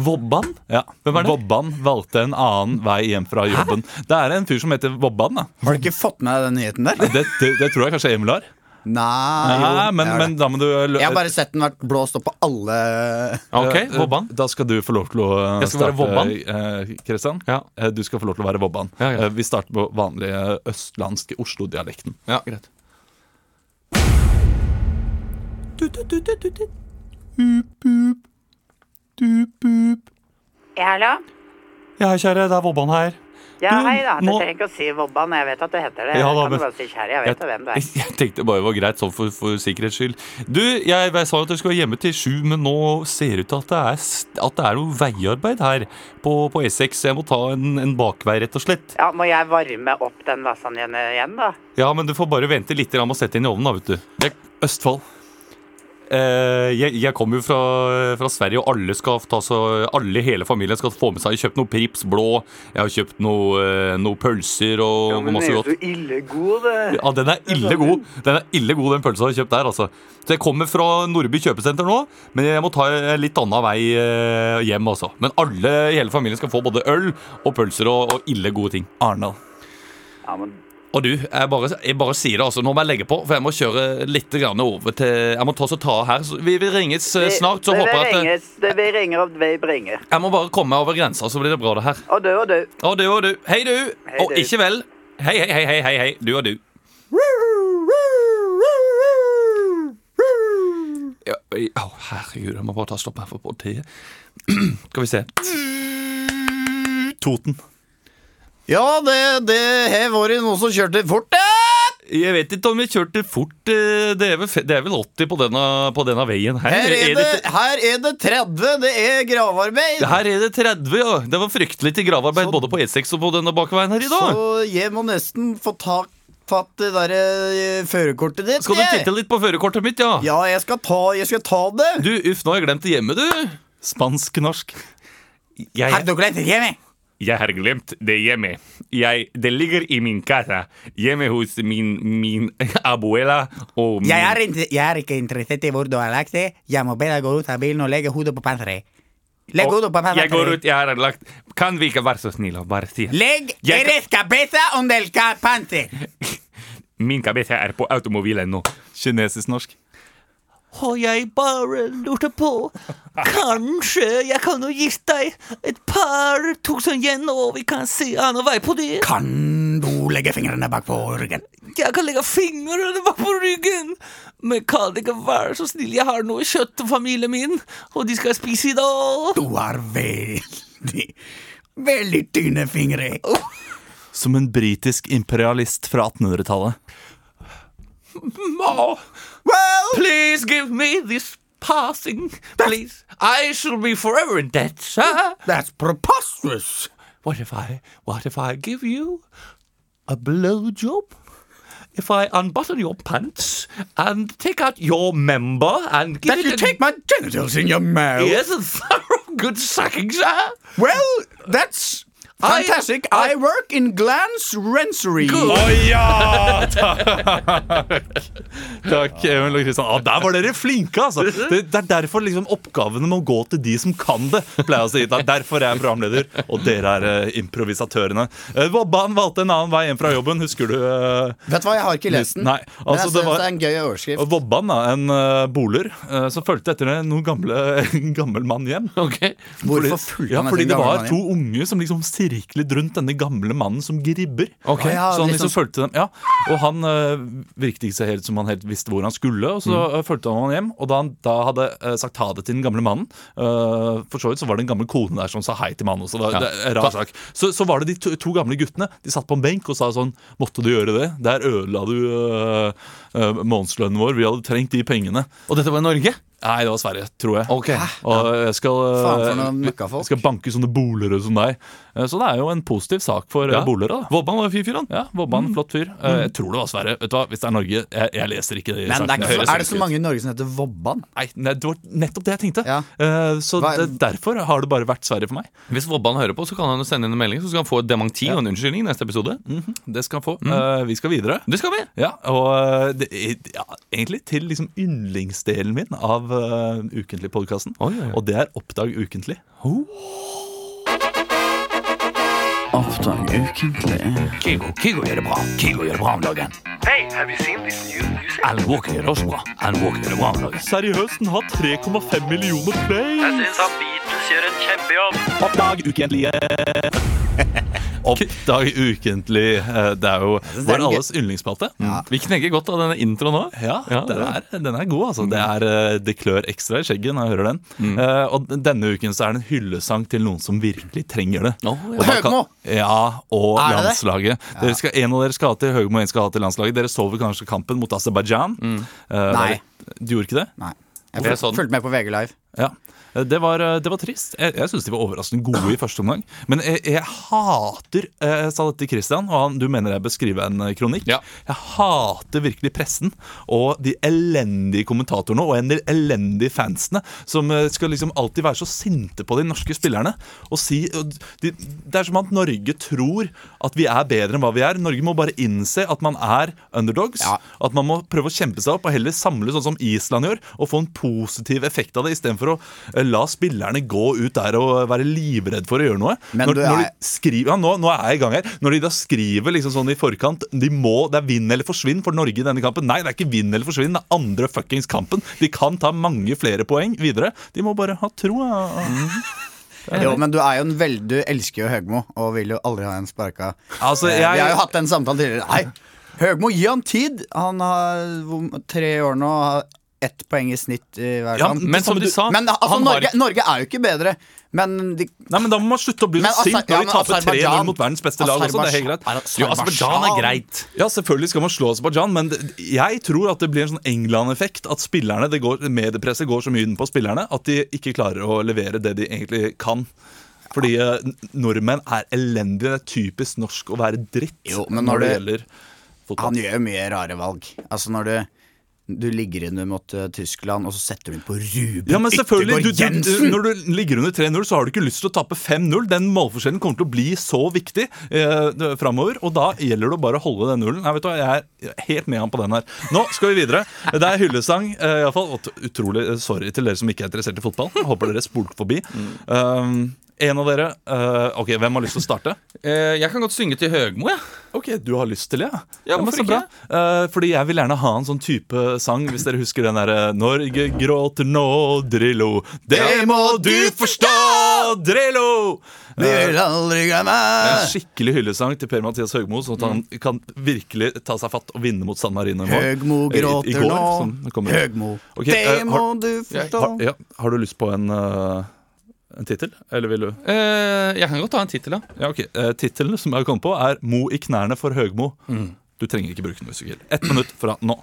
Speaker 3: Vobban?
Speaker 1: Ja.
Speaker 3: Hvem er det?
Speaker 1: Vobban valgte en annen vei hjem fra jobben. Det er en fyr som heter Vobban. da
Speaker 2: Har du ikke fått med deg den nyheten der?
Speaker 1: det, det, det tror jeg kanskje Emil har.
Speaker 2: Nei, jo,
Speaker 1: Nei, men,
Speaker 2: jeg har
Speaker 1: men
Speaker 2: det.
Speaker 1: da må du eh, lø-
Speaker 2: Jeg har bare sett den vært blåst opp på alle
Speaker 3: Ok, Vobban.
Speaker 1: Da skal du få lov til å eh,
Speaker 3: Jeg skal være
Speaker 1: eh, Kristian,
Speaker 3: Ja.
Speaker 1: Eh, du skal få lov til å være Vobban.
Speaker 3: Ja, ja.
Speaker 1: Eh, Vi starter på vanlig eh, østlandsk Oslo-dialekten.
Speaker 3: Ja, greit.
Speaker 4: Ja, Hallo?
Speaker 3: Ja, kjære, det er Vobban her.
Speaker 4: Ja,
Speaker 3: Du,
Speaker 4: hei da. Du
Speaker 3: nå-
Speaker 4: trenger ikke å si Vobban, jeg vet at du heter det.
Speaker 3: Ja, da,
Speaker 4: jeg kan
Speaker 3: men-
Speaker 4: du bare si kjære, jeg vet jo hvem du er.
Speaker 3: Jeg tenkte bare det var greit sånn for, for sikkerhets skyld. Du, jeg, jeg sa jo at du skulle være hjemme til sju, men nå ser det ut til at det er, s- at det er noe veiarbeid her på, på E6. så Jeg må ta en, en bakvei, rett og slett.
Speaker 4: Ja, må jeg varme opp den lasagnen igjen, da?
Speaker 3: Ja, men du får bare vente litt grann med å sette inn i ovnen, da, vet du. Jeg, Østfold. Eh, jeg, jeg kommer jo fra, fra Sverige, og alle, skal ta, så, alle i hele familien skal få med seg. Jeg har kjøpt noe Prips blå, jeg har kjøpt noe, eh, noe pølser og, og masse godt.
Speaker 4: så ille god, det.
Speaker 3: Ja, den er ille god, Den er ille god, den pølsa du har kjøpt der. altså Så Jeg kommer fra Nordby kjøpesenter nå, men jeg må ta en litt annen vei eh, hjem. altså Men alle i hele familien skal få både øl og pølser og, og ille gode ting. Arendal.
Speaker 4: Ja, men
Speaker 3: Og du, jeg bare, jeg bare sier det, altså. Nå må jeg legge på, for jeg må kjøre litt grann over til Jeg må ta så ta her. Så vi, vi ringes eh, snart, så
Speaker 4: det,
Speaker 3: håper jeg at eh,
Speaker 4: ringes, det vil ringe og vi bringer.
Speaker 3: Jeg må bare komme meg over grensa, så blir det bra, det her.
Speaker 4: Og du og du.
Speaker 3: Og du og du. Hei, du.
Speaker 4: Hei,
Speaker 3: og
Speaker 4: du.
Speaker 3: ikke vel. Hei, hei, hei, hei, hei, hei. Du og du. Ja, i- Å, herregud, jeg må bare ta stopp her for politiet. Skal vi se. Toten.
Speaker 2: Ja, det, det har vært noen som kjørte fort, det!
Speaker 3: Jeg vet ikke om vi kjørte fort. eh, Det er vel, fe- det er vel 80 på denne, på denne veien her.
Speaker 2: Her er det,
Speaker 3: det ikke-
Speaker 2: her er det 30, det er gravarbeid!
Speaker 3: her er det 30, ja. Det var fryktelig til gravarbeid både på E6 og på denne bakveien her i dag.
Speaker 2: Så jeg må nesten få tak fatt det der eh, førerkortet ditt.
Speaker 3: Skal du
Speaker 2: jeg.
Speaker 3: titte litt på førerkortet mitt, ja?
Speaker 2: Ja, jeg skal ta, jeg skal ta det.
Speaker 3: Du, uff, nå har jeg glemt det hjemme, du. Spansk-norsk. Jeg,
Speaker 2: Har du glemt det hjemme?
Speaker 3: jeg har glemt det hjemme. Jeg, det ligger i min casa. Hjemme hos min, min abuela og min
Speaker 2: Jeg er, inte- jeg er ikke interessert i hvor du har lagt det. Jeg må be deg gå ut av bilen og legge hodet på panseret. Legg hodet på panseret.
Speaker 3: Jeg går ut, jeg har lagt Kan vi ikke være så snille og bare si
Speaker 2: Legg
Speaker 3: Jeg-
Speaker 2: deres cabeza under el ca- panser.
Speaker 3: Min kabete er på automobilen nå.
Speaker 1: Kinesisk-norsk.
Speaker 5: Og jeg bare lurte på Kanskje jeg kan jo gitt deg et par tusen yen, og vi kan se annen vei på det?
Speaker 2: Kan du legge fingrene bak på ryggen?
Speaker 5: Jeg kan legge fingrene bak på ryggen, men kan det ikke være så snill? Jeg har noe kjøtt til familien min, og de skal spise i dag.
Speaker 2: Du har veldig, veldig tynne fingre.
Speaker 1: Som en britisk imperialist fra 1800-tallet.
Speaker 5: Ma, please give me this passing, please. I shall be forever in debt, sir.
Speaker 2: That's preposterous.
Speaker 5: What if I what if I give you a blowjob? If I unbutton your pants and take out your member and give
Speaker 2: That
Speaker 5: it
Speaker 2: you
Speaker 5: a-
Speaker 2: take my genitals in your mouth.
Speaker 5: yes, a thorough good sucking, sir.
Speaker 2: Well, that's
Speaker 5: I-
Speaker 2: fantastic. I,
Speaker 5: I-
Speaker 2: work in Glans Rensery.
Speaker 5: Good.
Speaker 1: ja! Takk, Emil og Kristian. Ah, der var dere flinke, altså! Det, det er derfor liksom oppgavene må gå til de som kan det. pleier jeg å si. Det er derfor jeg er programleder, og dere er eh, improvisatørene. Eh, Vobban valgte en annen vei hjem fra jobben, husker du? eh,
Speaker 2: Vet du hva, jeg har ikke lest den.
Speaker 1: Nei,
Speaker 2: Men
Speaker 1: altså
Speaker 2: jeg
Speaker 1: det
Speaker 2: synes
Speaker 1: var...
Speaker 2: det er en gøy overskrift.
Speaker 1: Og Vobban, da, en eh, boler, eh, som fulgte etter noen gamle, en gammel mann hjem.
Speaker 3: Ok.
Speaker 2: Hvorfor
Speaker 1: Fordi-
Speaker 2: fulgte
Speaker 1: ja,
Speaker 2: han
Speaker 1: Fordi
Speaker 2: etter en
Speaker 1: det
Speaker 2: gammel
Speaker 1: var
Speaker 2: mann
Speaker 1: to unge som liksom sirklet rundt denne gamle mannen som gribber.
Speaker 2: Ah, ja,
Speaker 1: så han
Speaker 2: litt
Speaker 1: liksom
Speaker 2: sånn-
Speaker 1: fulgte dem ja. Og han eh, virket ikke så helt som han helt visste hvor han skulle, og så mm. fulgte han han hjem. Og da han da hadde eh, sagt ha det til den gamle mannen, eh, for så vidt så var det en gammel kone der som sa hei til mannen også. Det, det er en rar sak. Så, så var det de to, to gamle guttene. De satt på en benk og sa sånn Måtte du gjøre det? Der ødela du eh, eh, månedslønnen vår. Vi hadde trengt de pengene.
Speaker 3: Og dette var i Norge?
Speaker 1: Nei, det var Sverige, tror jeg.
Speaker 3: Ok.
Speaker 1: Og jeg skal,
Speaker 2: Faen for noen
Speaker 1: jeg
Speaker 2: møkkafolk.
Speaker 1: eh, skal banke sånne bolere som deg. Eh, Så det er jo en positiv sak for ja.
Speaker 3: Ja.
Speaker 1: bolere. da
Speaker 3: Vobban var en fin fyr, han.
Speaker 1: ja, Vobban,
Speaker 2: Mm.
Speaker 1: flott fyr. Eh, Jeg tror det var Sverige. Vet du hva, Hvis det er Norge Jeg, jeg leser ikke de
Speaker 2: Men det er,
Speaker 1: sakene.
Speaker 2: ikke
Speaker 1: Høres
Speaker 2: så, er det
Speaker 1: ikke
Speaker 2: så
Speaker 1: ut.
Speaker 2: mange i Norge som heter Vobban?
Speaker 1: Nei, nei, det var nettopp det jeg tenkte.
Speaker 2: Ja.
Speaker 1: Eh, Så
Speaker 2: Hva-
Speaker 1: det, derfor har det bare vært Sverige for meg.
Speaker 3: Hvis Vobban hører på, så kan han jo sende inn en melding, så skal han få et dementi og en unnskyldning i neste episode.
Speaker 5: Mhm.
Speaker 1: Det skal han få.
Speaker 2: Mm.
Speaker 1: Eh, Vi skal videre.
Speaker 3: Det skal vi.
Speaker 1: Ja, og eh, det, ja, egentlig til liksom yndlingsdelen min av uh, Ukentlig-podkasten.
Speaker 3: Oi, oi, oi.
Speaker 1: Og det er Oppdag ukentlig.
Speaker 5: Kigo, Kigo gjør det bra. Kigo gjør det bra om dagen. Alan Walker gjør det også bra. Alan Walker gjør det bra om dagen.
Speaker 1: Seriøst, den har 3,5 millioner plays!
Speaker 6: syns at Beatles gjør en kjempejobb.
Speaker 1: Oppdag ukentlige Oppdag ukentlig. eh, Det er jo
Speaker 2: synes det
Speaker 1: vår
Speaker 2: er gøy.
Speaker 1: alles yndlingsspalte.
Speaker 3: Vi knegger godt av denne introen òg.
Speaker 1: Ja, den, er, den er god, altså. Det, er, eh, det klør ekstra i skjegget når jeg hører den. Eh, og d- denne uken så er det en hyllesang til noen som virkelig trenger det. Og da kan-
Speaker 2: Høgmo!
Speaker 1: Ja, og
Speaker 2: Er det det?
Speaker 1: landslaget. Dere skal, en av dere skal ha til Høgmo, en skal ha til landslaget. Dere så vel kanskje kampen mot Aserbajdsjan? Eh,
Speaker 2: Nei.
Speaker 1: Du gjorde ikke det?
Speaker 2: Nei. Jeg
Speaker 3: Det er
Speaker 2: fulg-
Speaker 3: sånn.
Speaker 2: fulgte med på VG Live.
Speaker 1: Ja. Eh, Det var, eh, det var trist. Jeg, jeg syns de var overraskende gode i første omgang. Men jeg, jeg hater eh, Jeg sa dette til Christian, og han, du mener jeg bør skrive en eh, kronikk.
Speaker 3: Ja.
Speaker 1: Jeg hater virkelig pressen og de elendige kommentatorene og en del elendige fansene som eh, skal liksom alltid være så sinte på de norske spillerne. Og si, og de, det er som at Norge tror at vi er bedre enn hva vi er. Norge må bare innse at man er underdogs.
Speaker 2: Ja.
Speaker 1: At man må prøve å kjempe seg opp og heller samle sånn som Island gjør, og få en positiv effekt av det, istedenfor å eh, la spillerne gå ut der og være livredd for å gjøre noe.
Speaker 2: Men
Speaker 1: når,
Speaker 2: du
Speaker 1: når
Speaker 2: er-
Speaker 1: de skriver, ja, nå, nå er jeg i gang her. Når de da skriver liksom sånn i forkant de må, Det er vinn eller forsvinn for Norge i denne kampen. Nei, det er ikke vinn eller forsvinn, det er andre fuckings kampen. De kan ta mange flere poeng videre. De må bare ha troa.
Speaker 2: Jo, men du er jo en veld... Du elsker jo Høgmo og vil jo aldri ha en sparka.
Speaker 1: Altså,
Speaker 2: Eh,
Speaker 1: jeg-
Speaker 2: Vi har jo hatt den samtalen tidligere. Nei, Høgmo, gi han tid! Han har hvor- tre år nå og har ett poeng i snitt i hver
Speaker 1: Ja,
Speaker 2: kamp.
Speaker 3: Men som de sa
Speaker 2: Men altså,
Speaker 3: han har
Speaker 2: Norge,
Speaker 3: ikke-
Speaker 2: Norge er jo ikke bedre. Men de
Speaker 1: Nei, men Da må man slutte å bli
Speaker 2: Men
Speaker 1: så sint
Speaker 2: Aser-
Speaker 1: når
Speaker 2: ja, men
Speaker 1: de taper 3-0
Speaker 2: Aserbajdsjan-
Speaker 1: mot verdens beste lag. også, det er helt
Speaker 2: Aserbajdsjan-
Speaker 1: greit.
Speaker 3: Jo, Aserbajdsjan er greit.
Speaker 1: Ja, selvfølgelig skal man slå Aserbajdsjan, men det- jeg tror at det blir en sånn England-effekt. At spillerne, det går, mediepresset går så mye inn på spillerne at de ikke klarer å levere det de egentlig kan. Fordi eh, n- nordmenn er elendige. Det er typisk norsk å være dritt
Speaker 2: Jo, men
Speaker 1: når
Speaker 2: når
Speaker 1: det
Speaker 2: du-
Speaker 1: gjelder fotball.
Speaker 2: Han gjør jo mye rare valg. Altså når du du ligger inne mot eh, Tyskland, og så setter du inn på Ruben
Speaker 1: Ja, men selvfølgelig, du, du,
Speaker 2: Yttergård
Speaker 1: du,
Speaker 2: Jensen!
Speaker 1: Når du ligger under 3-0, så har du ikke lyst til å tape 5-0. Den målforskjellen kommer til å bli så viktig eh, framover. Og da gjelder det å bare holde den nullen. Nei, vet du hva, Jeg er helt med han på den her. Nå skal vi videre. Det er hyllesang. Eh, i alle fall, Og t- utrolig eh, sorry til dere som ikke er interessert i fotball. Jeg håper dere spolk forbi. Um, en av dere eh, Ok, hvem har lyst til å starte?
Speaker 3: Eh, jeg kan godt synge til Høgmo, jeg.
Speaker 1: Ok, du har lyst til det, ja?
Speaker 3: Ja,
Speaker 1: men så
Speaker 3: hvorfor
Speaker 1: bra. Eh, fordi jeg vil gjerne ha en sånn type sang, hvis dere husker den derre Norge gråter nå, Drillo. Det må du forstå, Drillo!
Speaker 2: Vi vil aldri glemme!
Speaker 1: En skikkelig hyllesang til Per-Mathias Høgmo, sånn at han
Speaker 2: Mm.
Speaker 1: kan virkelig ta seg fatt og vinne mot San Marino i morgen.
Speaker 2: Høgmo
Speaker 1: Eh, i- i
Speaker 2: gråter
Speaker 1: går, som
Speaker 2: nå.
Speaker 1: kommer.
Speaker 2: Høgmo,
Speaker 1: Ok,
Speaker 2: det
Speaker 1: eh,
Speaker 2: må
Speaker 1: har-
Speaker 2: du forstå.
Speaker 1: Har, ja, har du lyst på en, uh, en tittel, eller vil du
Speaker 3: Eh, jeg kan godt ta en tittel, ja.
Speaker 1: Ja, ok. Eh, Tittelen som jeg har kommet på, er 'Mo i knærne for Høgmo'.
Speaker 3: Mm.
Speaker 1: Du trenger ikke bruke den hvis du ikke vil. Ett minutt fra nå.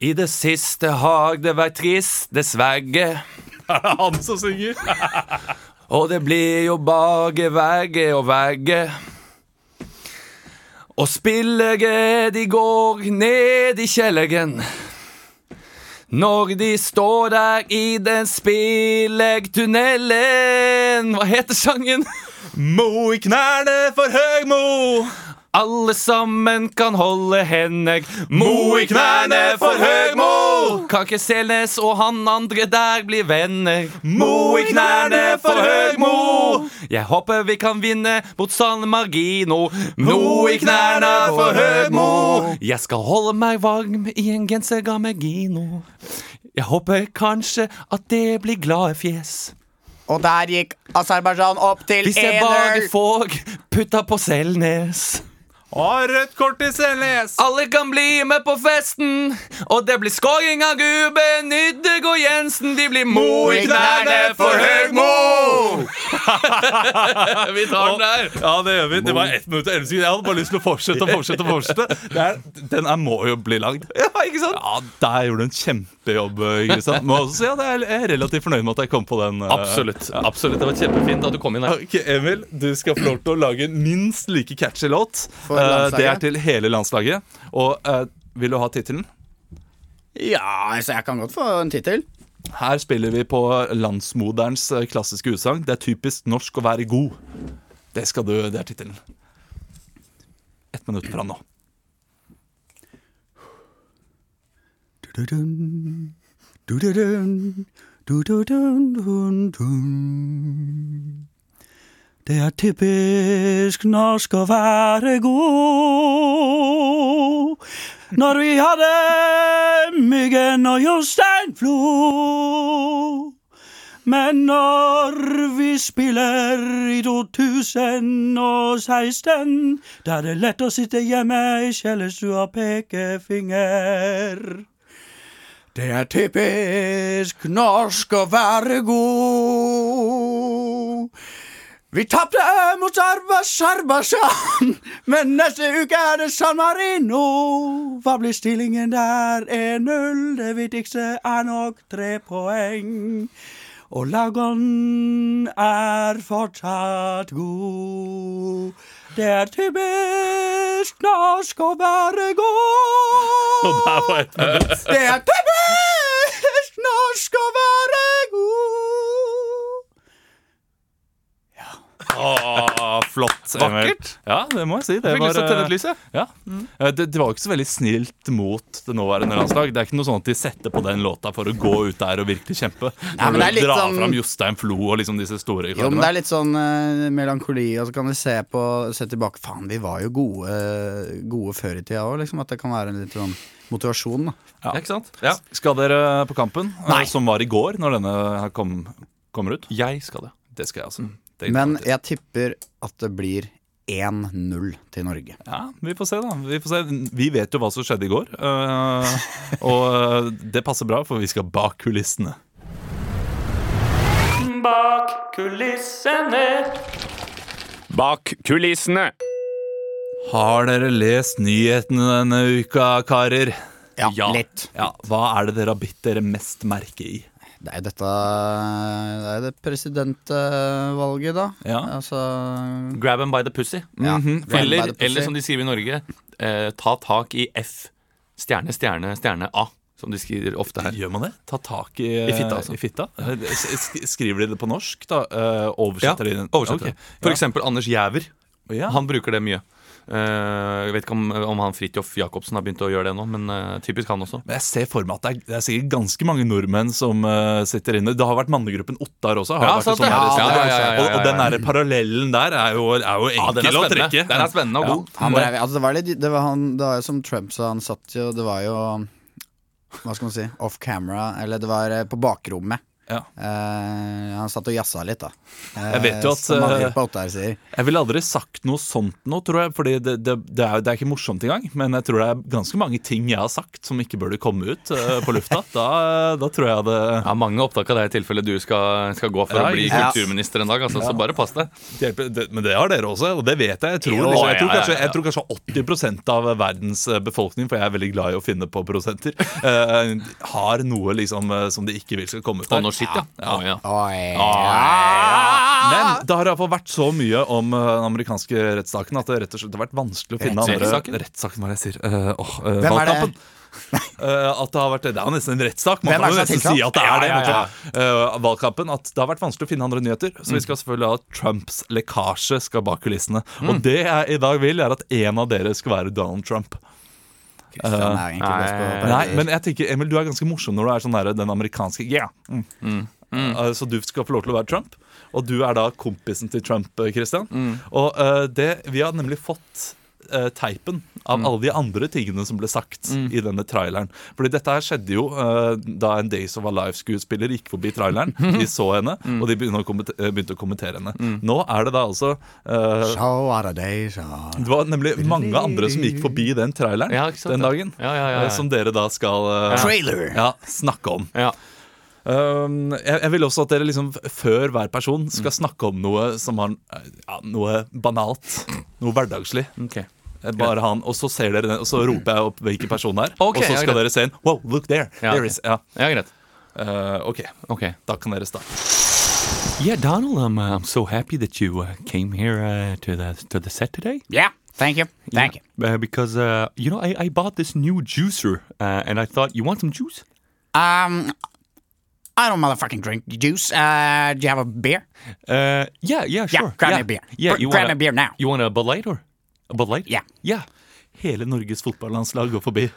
Speaker 3: I det siste har det vært trist, dessverre.
Speaker 1: Han som synger!
Speaker 3: Og det blir jo bare verre og verre. Og spillere de går ned i kjelleren. Når de står der i den spillertunnelen Hva heter sangen?
Speaker 1: Mo i knærne for Høgmo!
Speaker 3: Alle sammen kan holde hender. Mo i knærne for Høgmo! Kake Selnes og han andre der blir venner. Mo i knærne for Høgmo! Jeg håper vi kan vinne mot San Margino. Mo i knærne for Høgmo! Jeg skal holde meg varm i en genser av Megino. Jeg håper kanskje at det blir glade fjes.
Speaker 2: Og der gikk Aserbajdsjan opp til
Speaker 3: Hvis jeg bare
Speaker 2: 1-0.
Speaker 3: får putta på Selnes.
Speaker 1: Har rødt kort til Selnes!
Speaker 3: Alle kan bli med på festen, og det blir scoring av Ruben Yttergård Jensen. De blir mo i knærne for Høgmo! Vi tar den der.
Speaker 1: Ja, det gjør vi. Det var ett minutt og elleve sekunder. Jeg hadde bare lyst til å fortsette og fortsette. og fortsette det er, Den her må jo bli lagd.
Speaker 3: Ja, ikke sant?
Speaker 1: Ja, Der gjorde du en kjempejobb, Kristian. Må også si at jeg er relativt fornøyd med at jeg kom på den. eh.
Speaker 3: Absolutt. absolutt, Det var kjempefint at du kom inn her.
Speaker 1: Ok, Emil, du skal få lov til å lage en minst like catchy låt.
Speaker 2: For
Speaker 1: Eh, Det er
Speaker 2: landslaget.
Speaker 1: til hele landslaget. Og eh, vil du ha tittelen?
Speaker 2: Ja, altså, jeg kan godt få en tittel.
Speaker 1: Her spiller vi på landsmoderens eh, klassiske utsagn. Det er typisk norsk å være god. Det skal du, det er tittelen. Ett minutt fra nå.
Speaker 2: Du-du-dun, du-du-dun, du-du-dun-dun-dun. Det er typisk norsk å være god. Når vi hadde Myggen og Jostein Flo.
Speaker 5: Men når vi spiller i 2016, da er det lett å sitte hjemme i kjellerstua og pekefinger.
Speaker 2: Det er typisk norsk å være god. Vi tapte mot Aserbajdsjan, men neste uke er det San Marino. Hva blir stillingen der? 1-0. Det viktigste er nok tre poeng. Og Lagon er fortsatt god. Det er typisk norsk å være god.
Speaker 1: Og der var et minutt.
Speaker 2: Det er typisk norsk å være god.
Speaker 1: Åh, flott. Emil.
Speaker 3: Vakkert.
Speaker 1: Ja, det må jeg si. Det
Speaker 3: Fikk lyst til å tenne et lys, jeg.
Speaker 1: ja. Eh, Det, det var jo ikke så veldig snilt mot det nåværende landslag. Det er ikke noe sånn at de setter på den låta for å gå ut der og virkelig kjempe.
Speaker 2: Nei,
Speaker 1: Når
Speaker 2: men det er
Speaker 1: du
Speaker 2: litt
Speaker 1: drar
Speaker 2: sånn-
Speaker 1: fram Jostein Flo og liksom disse store
Speaker 2: Jo, men
Speaker 1: kardene.
Speaker 2: det er litt sånn eh, melankoli, og så kan vi se, på, se tilbake Faen, vi var jo gode, gode før i tida òg, liksom. At det kan være en litt sånn motivasjon, da.
Speaker 1: ja. Ikke sant? Ja. Skal dere på Kampen, eh, som var i går, når denne her kom, kommer ut?
Speaker 3: Jeg skal det.
Speaker 1: Det skal jeg altså. Det
Speaker 2: Mm. Men jeg tipper at det blir 1-0 til Norge.
Speaker 1: Ja, vi får se, da. Vi, får se. vi vet jo hva som skjedde i går. eh, og eh, det passer bra, for vi skal bak kulissene.
Speaker 5: Bak kulissene.
Speaker 3: Bak kulissene!
Speaker 1: Har dere lest nyhetene denne uka, karer?
Speaker 2: Ja, litt.
Speaker 1: Ja, Hva er det dere har bitt dere mest merke i?
Speaker 2: Det er jo dette Det er jo det presidentvalget, da.
Speaker 1: Ja.
Speaker 2: Altså
Speaker 3: Grab them by the pussy.
Speaker 2: ja,
Speaker 3: Mhm. Eller,
Speaker 2: Arbeiderpartiet.
Speaker 3: eller som de skriver i Norge, eh, ta tak i F. Stjerne, stjerne, stjerne A. Som de skriver ofte her.
Speaker 1: Gjør man det? Ta tak i,
Speaker 3: I fitta, altså.
Speaker 1: i fitta? Eh, s- s- Skriver de det på norsk, da? Eh, Oversetter de den?
Speaker 3: Oversetter.
Speaker 1: Ok.
Speaker 3: For
Speaker 1: Ja.
Speaker 3: eksempel Anders Jæver.
Speaker 1: Ja.
Speaker 3: Han bruker det mye. Eh, jeg vet ikke om, om han Fridtjof Jacobsen har begynt å gjøre det nå, men eh, typisk han også.
Speaker 1: Men jeg ser for meg at det er, det er sikkert ganske mange nordmenn som eh, sitter inne. Det har vært mannegruppen Ottar også. Har
Speaker 3: Ja,
Speaker 1: vært
Speaker 3: sant
Speaker 1: en sånn her-
Speaker 3: det. Ja, ja, ja, ja, ja,
Speaker 1: Og, og den der parallellen der er jo, er jo enkel
Speaker 3: den er
Speaker 1: å
Speaker 3: spennende.
Speaker 1: trekke.
Speaker 3: Den er spennende og
Speaker 1: Ja.
Speaker 3: god.
Speaker 2: Han drev, altså det var litt det var, han, det var jo som Trump sa, han satt jo Det var jo Hva skal man si? Off camera, eller det var eh, på bakrommet.
Speaker 1: Ja.
Speaker 2: Eh, han satt og jazza litt, da. Eh,
Speaker 1: Jeg vet jo at,
Speaker 2: Som man
Speaker 1: eh,
Speaker 2: på åtte her sier.
Speaker 1: Jeg ville aldri sagt noe sånt nå, tror jeg. Fordi det, det, det, er, jo- det er ikke morsomt engang. Men jeg tror det er ganske mange ting jeg har sagt som ikke burde komme ut eh, på lufta. Da, da tror jeg det
Speaker 3: Ja, Mange opptak av deg i tilfelle du skal, skal gå for
Speaker 1: Ja,
Speaker 3: å bli
Speaker 1: ja.
Speaker 3: kulturminister en dag. Altså, Så bare pass deg.
Speaker 1: hjelper. Det, men det har dere også, og det vet jeg. Jeg tror,
Speaker 3: Jo,
Speaker 1: liksom, jeg tror,
Speaker 3: ja, ja,
Speaker 1: kanskje,
Speaker 3: ja.
Speaker 1: jeg tror kanskje 80 av verdens eh, befolkning, for jeg er veldig glad i å finne på prosenter, eh, har noe liksom, eh, som de ikke vil skal komme ut
Speaker 3: Å,
Speaker 1: der.
Speaker 3: nå shit, ja. Å, ja.
Speaker 2: Oi. Ah!
Speaker 1: Men det har i hvert fall vært så mye om eh, den amerikanske rettssaken at det rett og slett har vært vanskelig å finne andre
Speaker 3: Rettssaken?
Speaker 1: Rettssaken, hva er det jeg sier? Eh, åh, eh,
Speaker 2: Hvem er det?
Speaker 1: valgkampen. Eh, at det har vært Det er jo nesten en rettssak. Man
Speaker 2: Hvem
Speaker 1: kan
Speaker 2: er
Speaker 1: jo
Speaker 2: det som
Speaker 1: nesten
Speaker 2: er
Speaker 1: si at det er det.
Speaker 3: Ja, ja,
Speaker 1: men så- eh, valgkampen. At det har vært vanskelig å finne andre nyheter. Så
Speaker 2: Mm.
Speaker 1: vi skal selvfølgelig ha at Trumps lekkasje skal bak kulissene.
Speaker 2: Mm.
Speaker 1: Og det jeg i dag vil, er at en av dere skal være Donald Trump.
Speaker 2: Kristian er egentlig best på
Speaker 3: nei,
Speaker 1: Nei,
Speaker 2: parodier.
Speaker 1: men jeg tenker, Emil, du er ganske morsom når du er sånn der, den amerikanske yeah. mm. Eh, Så du skal få lov til å være Trump, og du er da kompisen til Trump, eh, Christian.
Speaker 3: Mm.
Speaker 1: Og eh, det, vi har nemlig fått eh, teipen
Speaker 3: Mm.
Speaker 1: av alle de andre tingene som ble sagt i denne traileren. Fordi dette her skjedde jo eh, da en Days of Alive-skuespiller gikk forbi traileren. De så henne,
Speaker 3: Mm.
Speaker 1: og de begynte å, kommente- eh, begynte å kommentere henne. Nå er det da altså eh,
Speaker 2: So are they, so are they.
Speaker 1: det var nemlig mange andre som gikk forbi den traileren
Speaker 3: Ja, ikke sant,
Speaker 1: den
Speaker 3: ja.
Speaker 1: dagen.
Speaker 3: Ja, ja, ja, ja.
Speaker 1: eh, Som dere da skal eh,
Speaker 2: Trailer!
Speaker 1: ja, snakke om.
Speaker 3: Ja.
Speaker 1: Um, jeg, jeg vil også at dere liksom f- før hver person skal snakke om noe som har ja, noe banalt. Noe hverdagslig.
Speaker 3: Mm.
Speaker 1: Eh, Bare han, og så ser dere den, og så roper jeg opp hvilken person det er. og
Speaker 3: Ok,
Speaker 1: så
Speaker 3: ja,
Speaker 1: skal
Speaker 3: greit.
Speaker 1: dere se en Wow, look there!
Speaker 3: Ja,
Speaker 1: there
Speaker 3: ok.
Speaker 1: is, ja.
Speaker 3: ja, greit.
Speaker 1: Eh, ok,
Speaker 3: Ok.
Speaker 1: da kan dere starte.
Speaker 3: Yeah, Donald, I'm, uh, I'm so happy that you uh, came here uh, to the to the set today.
Speaker 2: Yeah, thank you. Thank you.
Speaker 3: Uh, because uh, you know, I, I bought this new juicer, uh, and I thought, you want some juice?
Speaker 2: Um, I don't motherfucking drink juice. Uh, do you have a beer?
Speaker 3: Uh, yeah, yeah, sure.
Speaker 2: grab me a beer.
Speaker 3: Yeah,
Speaker 2: Br- grab me a beer now.
Speaker 3: You want a Bud Light or a Bud Light?
Speaker 2: Yeah.
Speaker 3: yeah.
Speaker 1: Hele Norges fotballandslag går forbi.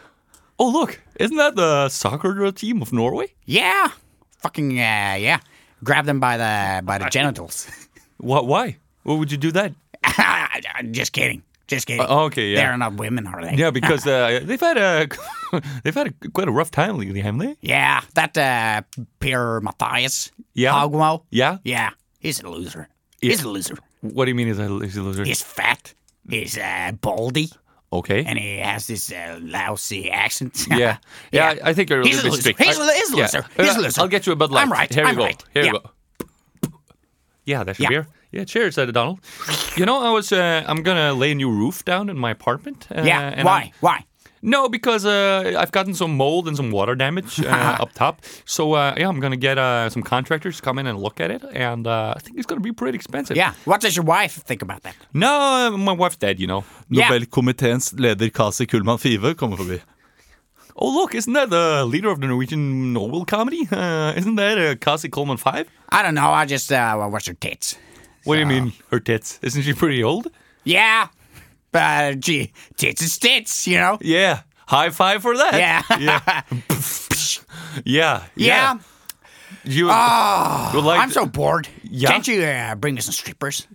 Speaker 3: Oh, look, isn't that the soccer team of Norway?
Speaker 2: Yeah, fucking uh, yeah. Grab them by the by the genitals.
Speaker 3: Why? Why? What would you do that?
Speaker 2: Just kidding.
Speaker 5: Just kidding.
Speaker 3: Uh, okay, yeah.
Speaker 5: They're not women, are they?
Speaker 3: Yeah, because uh, they've had a they've had a, quite a rough time lately, haven't they?
Speaker 5: Yeah, that uh, Pierre Matthias
Speaker 3: Yeah.
Speaker 5: Hogmo.
Speaker 3: Yeah.
Speaker 5: Yeah, he's a loser. He's a loser.
Speaker 3: What do you mean? Is a, is a loser?
Speaker 5: He's fat. He's uh, baldy,
Speaker 3: Okay.
Speaker 5: and he has this uh, lousy accent.
Speaker 3: yeah. yeah, I think you're a
Speaker 5: He's
Speaker 3: little bit
Speaker 5: a loser.
Speaker 3: strict.
Speaker 5: He's
Speaker 3: I-
Speaker 5: a- he's a
Speaker 3: yeah.
Speaker 5: loser. He's a
Speaker 3: Uh,
Speaker 5: loser.
Speaker 3: I'll get you a Bud Light.
Speaker 5: I'm right.
Speaker 3: Here we
Speaker 5: I'm
Speaker 3: go.
Speaker 5: right.
Speaker 3: Here
Speaker 5: Yeah.
Speaker 3: we go. Yeah, that should
Speaker 5: Yeah.
Speaker 3: be her. Yeah, cheers, uh, Donald. You know, I was uh, I'm gonna lay a new roof down in my apartment. Uh,
Speaker 5: Yeah.
Speaker 3: and
Speaker 5: Why?
Speaker 3: I'm-
Speaker 5: Why?
Speaker 3: No, because uh, I've gotten some mold and some water damage uh, up top. So uh, yeah, I'm gonna get uh, some contractors to come in and look at it, and uh, I think it's gonna be pretty expensive.
Speaker 5: Yeah. What does your wife think about that?
Speaker 3: No, my wife's dead, you know.
Speaker 5: Yeah.
Speaker 3: Nobelkomiteens leder Kasi Kullmann Five kommer forbi. Oh, look, isn't that the leader of the Norwegian Nobel comedy? Uh, isn't that uh, Kasi Kullmann Five?
Speaker 5: I don't know. I just uh, well, what's her tits?
Speaker 3: What do you mean, her tits? Isn't she pretty old?
Speaker 5: Yeah. But uh, gee, tits is tits, you know.
Speaker 3: Yeah. High five for that.
Speaker 5: Yeah.
Speaker 3: Uh, Yeah. yeah.
Speaker 5: Yeah. Ah,
Speaker 3: You, you like
Speaker 5: I'm so bored.
Speaker 3: Yeah.
Speaker 5: Can't you uh, bring me some strippers?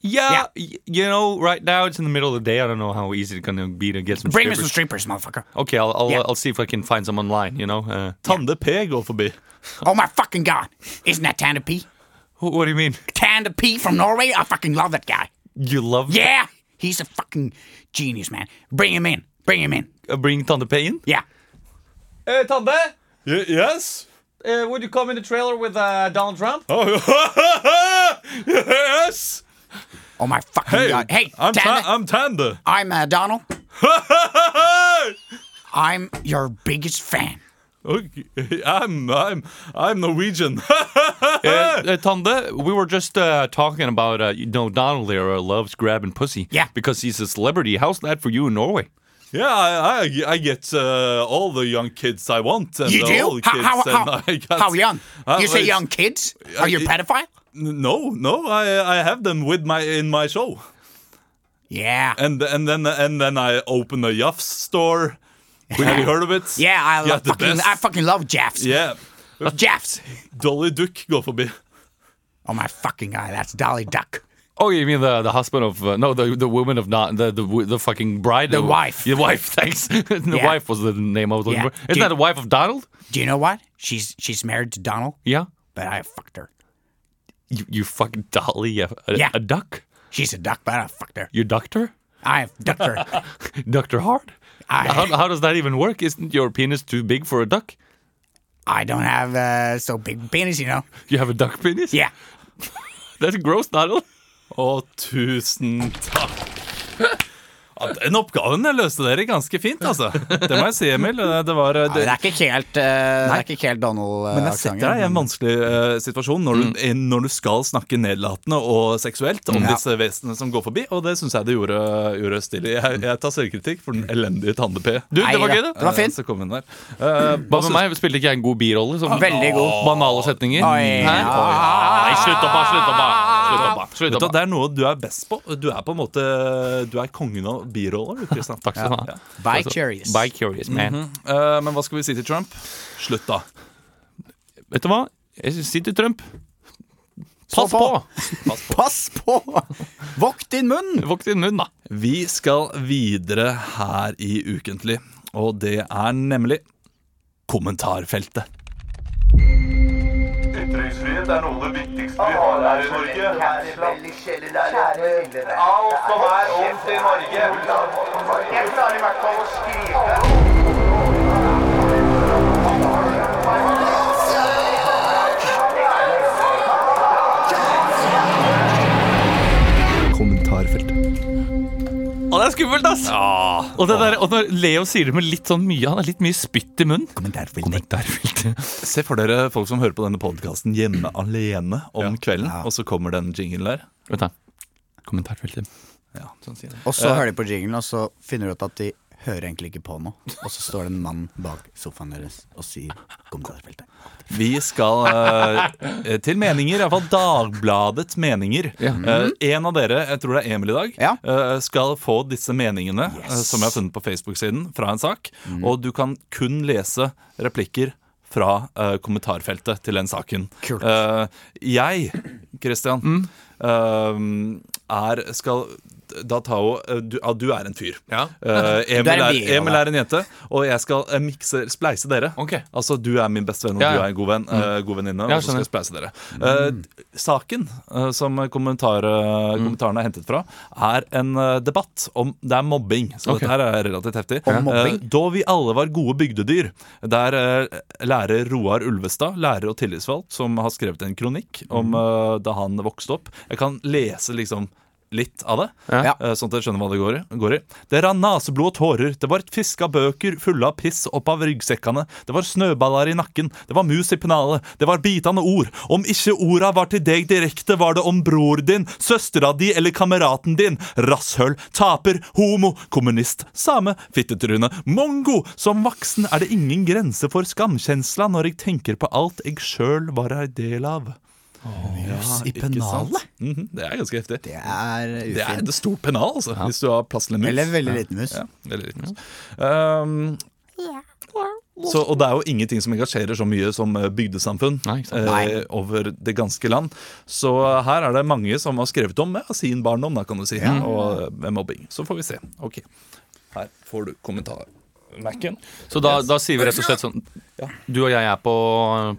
Speaker 3: Yeah, y- you know, right now it's in the middle of the day. I don't know how easy it's gonna be to get some.
Speaker 5: Bring me some
Speaker 3: strippers.
Speaker 5: strippers, motherfucker.
Speaker 3: Okay, I'll I'll,
Speaker 5: Yeah.
Speaker 3: I'll see if I can find some online. You know, uh, Tom the P går forbi.
Speaker 5: Oh my fucking god! Isn't that Tanda P?
Speaker 3: Wh- What do you mean?
Speaker 5: Tanda P from Norway? I fucking love that guy.
Speaker 3: You love
Speaker 5: Yeah, he's a fucking genius, man. Bring him in. Bring him in.
Speaker 3: uh, bringing Tante P in?
Speaker 5: Yeah.
Speaker 3: Uh, Tante,
Speaker 1: yes?
Speaker 3: uh, would you come in the trailer with uh, Donald Trump?
Speaker 1: Oh, yes!
Speaker 5: Oh my fucking god! Hey,
Speaker 1: I'm,
Speaker 5: Tanda,
Speaker 1: ta- I'm Tanda.
Speaker 5: I'm uh, Donald. I'm your biggest fan.
Speaker 1: Okay, I'm I'm I'm Norwegian.
Speaker 3: Uh, uh, Tante, we were just uh, talking about uh, you know Donald there uh, loves grabbing pussy.
Speaker 5: Yeah.
Speaker 3: because he's a celebrity. How's that for you in Norway?
Speaker 1: yeah, I I, I get uh, all the young kids I want. And
Speaker 5: You
Speaker 1: the
Speaker 5: do?
Speaker 1: Old
Speaker 5: How,
Speaker 1: kids
Speaker 5: how,
Speaker 1: and
Speaker 5: how,
Speaker 1: I got,
Speaker 5: how young?
Speaker 1: Uh,
Speaker 5: You say
Speaker 1: it's-
Speaker 5: young kids? Are you a pedophile?
Speaker 1: N- No, no, I I have them with my in my show,
Speaker 5: Yeah.
Speaker 1: and and then and then I open a Yuffs store. Have you heard of it?
Speaker 5: Yeah, I
Speaker 1: Yeah,
Speaker 5: love
Speaker 1: the
Speaker 5: fucking,
Speaker 1: best.
Speaker 5: I fucking love Jeffs.
Speaker 1: Yeah,
Speaker 5: Jeffs.
Speaker 1: Dolly Duck går forbi.
Speaker 5: Oh my fucking god, that's Dolly Duck.
Speaker 3: Oh, you mean the the husband of uh, no the the woman of not the the, w- the fucking bride
Speaker 5: The
Speaker 3: of-
Speaker 5: wife.
Speaker 3: the wife thanks the
Speaker 5: Yeah.
Speaker 3: wife was the name I was looking
Speaker 5: Yeah.
Speaker 3: for isn't
Speaker 5: Do-
Speaker 3: that the wife of Donald
Speaker 5: Do you know what? She's she's married to Donald,
Speaker 3: yeah
Speaker 5: but I fucked her.
Speaker 3: you, you fucking dolly a, a,
Speaker 5: Yeah.
Speaker 3: a duck
Speaker 5: She's a duck, but I fucked her.
Speaker 3: you ducked her
Speaker 5: I ducked her.
Speaker 3: ducked her hard how,
Speaker 5: I
Speaker 3: how does that even work isn't your penis too big for a duck
Speaker 5: I don't have uh, so big penis, you know.
Speaker 3: you have a duck penis
Speaker 5: Yeah.
Speaker 3: that's gross Donald
Speaker 1: Å, tusen takk. Ja, den oppgaven løste dere ganske fint, altså. Det må jeg si, Emil. Det var,
Speaker 5: Det
Speaker 1: det,
Speaker 5: er ikke helt, eh, det er ikke helt uh,
Speaker 1: men jeg setter deg i en
Speaker 5: Donald-aksenten.
Speaker 1: vanskelig eh, situasjon når du,
Speaker 3: Mm.
Speaker 1: når du skal snakke nedlatende og seksuelt om
Speaker 5: Ja.
Speaker 1: disse vesenene som går forbi, og det syns jeg det gjorde, gjorde stilig. Jeg, jeg tar selvkritikk for den elendige Tande-P.
Speaker 3: du det var
Speaker 5: Neida,
Speaker 3: gøy det
Speaker 5: det var fint.
Speaker 1: Så kom hun der. Eh,
Speaker 3: hva med meg spilte ikke jeg en god birolle som
Speaker 5: Veldig god.
Speaker 3: banale setninger
Speaker 5: Oi.
Speaker 3: Hæ? nei slutt opp da, slutt opp da, slutt opp da, slutt
Speaker 1: Vet du,
Speaker 3: opp
Speaker 1: hva,
Speaker 3: da.
Speaker 1: det er noe du er best på. Du er på en måte Du er kongen av biroller. du, Kristian.
Speaker 3: Takk skal du ha.
Speaker 5: By curious.
Speaker 3: By curious man
Speaker 5: Mhm.
Speaker 1: Eh, men hva skal vi si til Trump? Slutt, da.
Speaker 3: Vet du hva? Jeg sier til Trump Pass
Speaker 5: på.
Speaker 3: på!
Speaker 5: Pass på! Vokt din munn!
Speaker 3: Vokt din munn, da.
Speaker 1: Vi skal videre her i Ukentlig, og det er nemlig kommentarfeltet.
Speaker 4: Ytringsfrihet er noe av det viktigste vi har her i Norge. Alt som er ondt i Norge. Jeg klarer i hvert fall å skrive.
Speaker 3: Å, det er skummelt, ass! Og, det der, og når Leo sier det med litt sånn mye Han har litt mye spytt i munnen. Kommentarfeltet.
Speaker 1: Se for dere folk som hører på denne podkasten hjemme alene om kvelden, og så kommer den jingelen der.
Speaker 3: Vent, da. Kommentarfeltet.
Speaker 1: Ja, sånn sier jeg.
Speaker 5: Og
Speaker 2: Eh.
Speaker 5: så hører de på jinglen, og så finner du ut at de hører egentlig ikke på noe. Og så står det en mann bak sofaen deres og sier kommentarfeltet.
Speaker 1: Vi skal eh, til meninger, iallfall Dagbladets meninger. Eh, en av dere, jeg tror det er Emil i dag,
Speaker 5: Ja.
Speaker 1: eh, skal få disse meningene eh, som jeg har funnet på Facebook-siden, fra en sak. Og du kan kun lese replikker fra eh, kommentarfeltet til den saken.
Speaker 5: Kult.
Speaker 2: Mm.
Speaker 1: Eh, jeg, Christian, eh, er skal da tar jo eh, du, ja, du er en fyr.
Speaker 3: Ja.
Speaker 1: Eh, Emil,
Speaker 2: Du
Speaker 1: er
Speaker 2: er en
Speaker 1: en
Speaker 2: bil, ja,
Speaker 1: Emil
Speaker 2: da.
Speaker 1: er en jente, og jeg skal eh, mikse, spleise dere.
Speaker 3: Ok.
Speaker 1: Altså, du er min beste venn, og
Speaker 3: Ja, ja.
Speaker 1: du er en god venn, eh, god venninne.
Speaker 3: Ja,
Speaker 1: og så skal
Speaker 3: skjønner.
Speaker 1: jeg spleise dere. Eh,
Speaker 2: Mm.
Speaker 1: saken eh, som kommentar, eh,
Speaker 3: Mm.
Speaker 1: kommentarene er hentet fra, er en eh, debatt om Det er mobbing, så
Speaker 3: Ok.
Speaker 1: dette her er relativt heftig.
Speaker 2: Om mobbing?
Speaker 1: Eh, da vi alle var gode bygdedyr, der eh, lærer Roar Ulvestad, lærer og tillitsvalgt, som har skrevet en kronikk om
Speaker 3: Mm.
Speaker 1: eh, da han vokste opp. Jeg kan lese liksom litt av det.
Speaker 2: Ja.
Speaker 1: Eh, Sånn at jeg skjønner hva det går i. Går i. Det rann naseblod og tårer. Det var et fiske av bøker fulle av piss opp av ryggsekkene. Det var snøballer i nakken. Det var mus i pennalet. Det var bitende ord. Om ikke orda var til deg direkte, var det om bror din, søstera di eller kameraten din. Rasshøl, taper, homo, kommunist, same, fittetryne, mongo. Som voksen er det ingen grense for skamkjensla når jeg tenker på alt jeg sjøl var ei del av.
Speaker 2: Mus i
Speaker 1: Ikke sant?
Speaker 2: pennalet?
Speaker 1: Mhm, Det er ganske heftig.
Speaker 2: Det er
Speaker 1: Det er
Speaker 2: ufint.
Speaker 1: et stort pennal, altså, hvis du har plass til en mus.
Speaker 2: Eller veldig liten mus.
Speaker 1: Ja, veldig liten mus. Um, så, og det er jo ingenting som engasjerer så mye som eh, bygdesamfunn
Speaker 3: Nei, ikke sant.
Speaker 1: eh, over det ganske land. Så eh, her er det mange som har skrevet om ja, sin barndom, da, kan du si, og eh, med mobbing. Så får vi se. Ok, Her får du kommentar. Mac-en.
Speaker 3: Så da, da sier vi rett og slett sånn Du og jeg er på,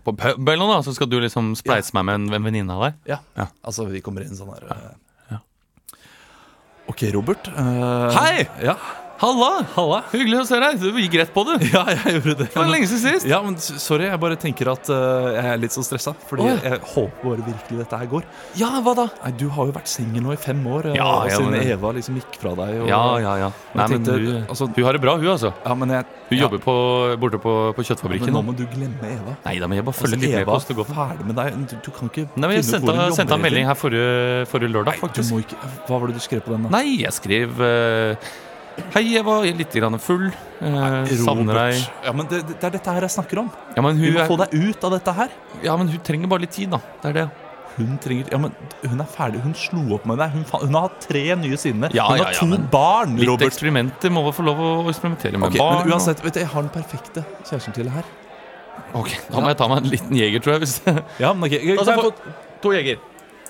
Speaker 3: på puben, da, så skal du liksom spleise meg med en, en venninne av deg?
Speaker 1: Ja. altså vi kommer inn sånn her. eh. Ok, Robert. eh,
Speaker 3: Hei!
Speaker 1: Ja.
Speaker 3: Halla! Halla, Hyggelig å se deg. Du gikk rett på det.
Speaker 1: ja, jeg gjorde det.
Speaker 3: Det var lenge siden sist.
Speaker 1: Ja, men s- sorry, jeg bare tenker at eh, jeg er litt så stressa. Fordi
Speaker 3: Åh.
Speaker 1: jeg håper bare virkelig dette her går.
Speaker 3: Ja, hva da?
Speaker 1: Nei, Du har jo vært singel nå i fem år, eh,
Speaker 3: Ja,
Speaker 1: og
Speaker 3: ja,
Speaker 1: siden
Speaker 3: men-
Speaker 1: Eva liksom gikk fra deg. Og,
Speaker 3: Ja, ja, ja. Nei, men
Speaker 1: tenkte-
Speaker 3: hun,
Speaker 1: altså-
Speaker 3: hun har det bra, hun, altså.
Speaker 1: Ja, men jeg
Speaker 3: Hun
Speaker 1: ja,
Speaker 3: jobber på, borte på, på kjøttfabrikken.
Speaker 1: Men nå må du glemme Eva.
Speaker 3: Nei da, men jeg bare
Speaker 1: Altså,
Speaker 3: følger litt med
Speaker 1: Eva
Speaker 3: på
Speaker 1: er
Speaker 3: hvordan det går.
Speaker 1: ferdig med deg. Du, du kan ikke
Speaker 3: Nei, men jeg
Speaker 1: finne ut hvor
Speaker 3: sendte,
Speaker 1: hun jobber
Speaker 3: sendte en
Speaker 1: hele
Speaker 3: melding
Speaker 1: tiden.
Speaker 3: her forrige, forrige lørdag,
Speaker 1: Du
Speaker 3: faktisk.
Speaker 1: må ikke, hva var det du skrev på den? da?
Speaker 3: Nei, jeg skrev eh, Hei, jeg var litt grann full. eh, savner deg.
Speaker 1: Robert. Ja, men det, det er dette her jeg snakker om.
Speaker 3: Ja men,
Speaker 1: Du
Speaker 3: hun
Speaker 1: må
Speaker 3: er,
Speaker 1: få deg ut av dette her.
Speaker 3: ja, men hun trenger bare litt tid, da. Det er det.
Speaker 1: Hun trenger Ja, men hun er ferdig. Hun slo opp med deg. Hun, fa- hun har hatt tre nye sinner.
Speaker 3: Ja,
Speaker 1: hun
Speaker 3: ja,
Speaker 1: har
Speaker 3: ja,
Speaker 1: to
Speaker 3: men-
Speaker 1: barn,
Speaker 3: Litt
Speaker 1: Robert.
Speaker 3: eksperimenter må vi få lov å eksperimentere med.
Speaker 1: Ok,
Speaker 3: barn,
Speaker 1: men
Speaker 3: og-
Speaker 1: uansett, vet du, jeg har den perfekte kjæresten til her.
Speaker 3: Ok, Da må jeg ta meg en liten jeger, tror jeg. Hvis
Speaker 1: Ja, men ok, jeg,
Speaker 3: Da tar jeg to jeger.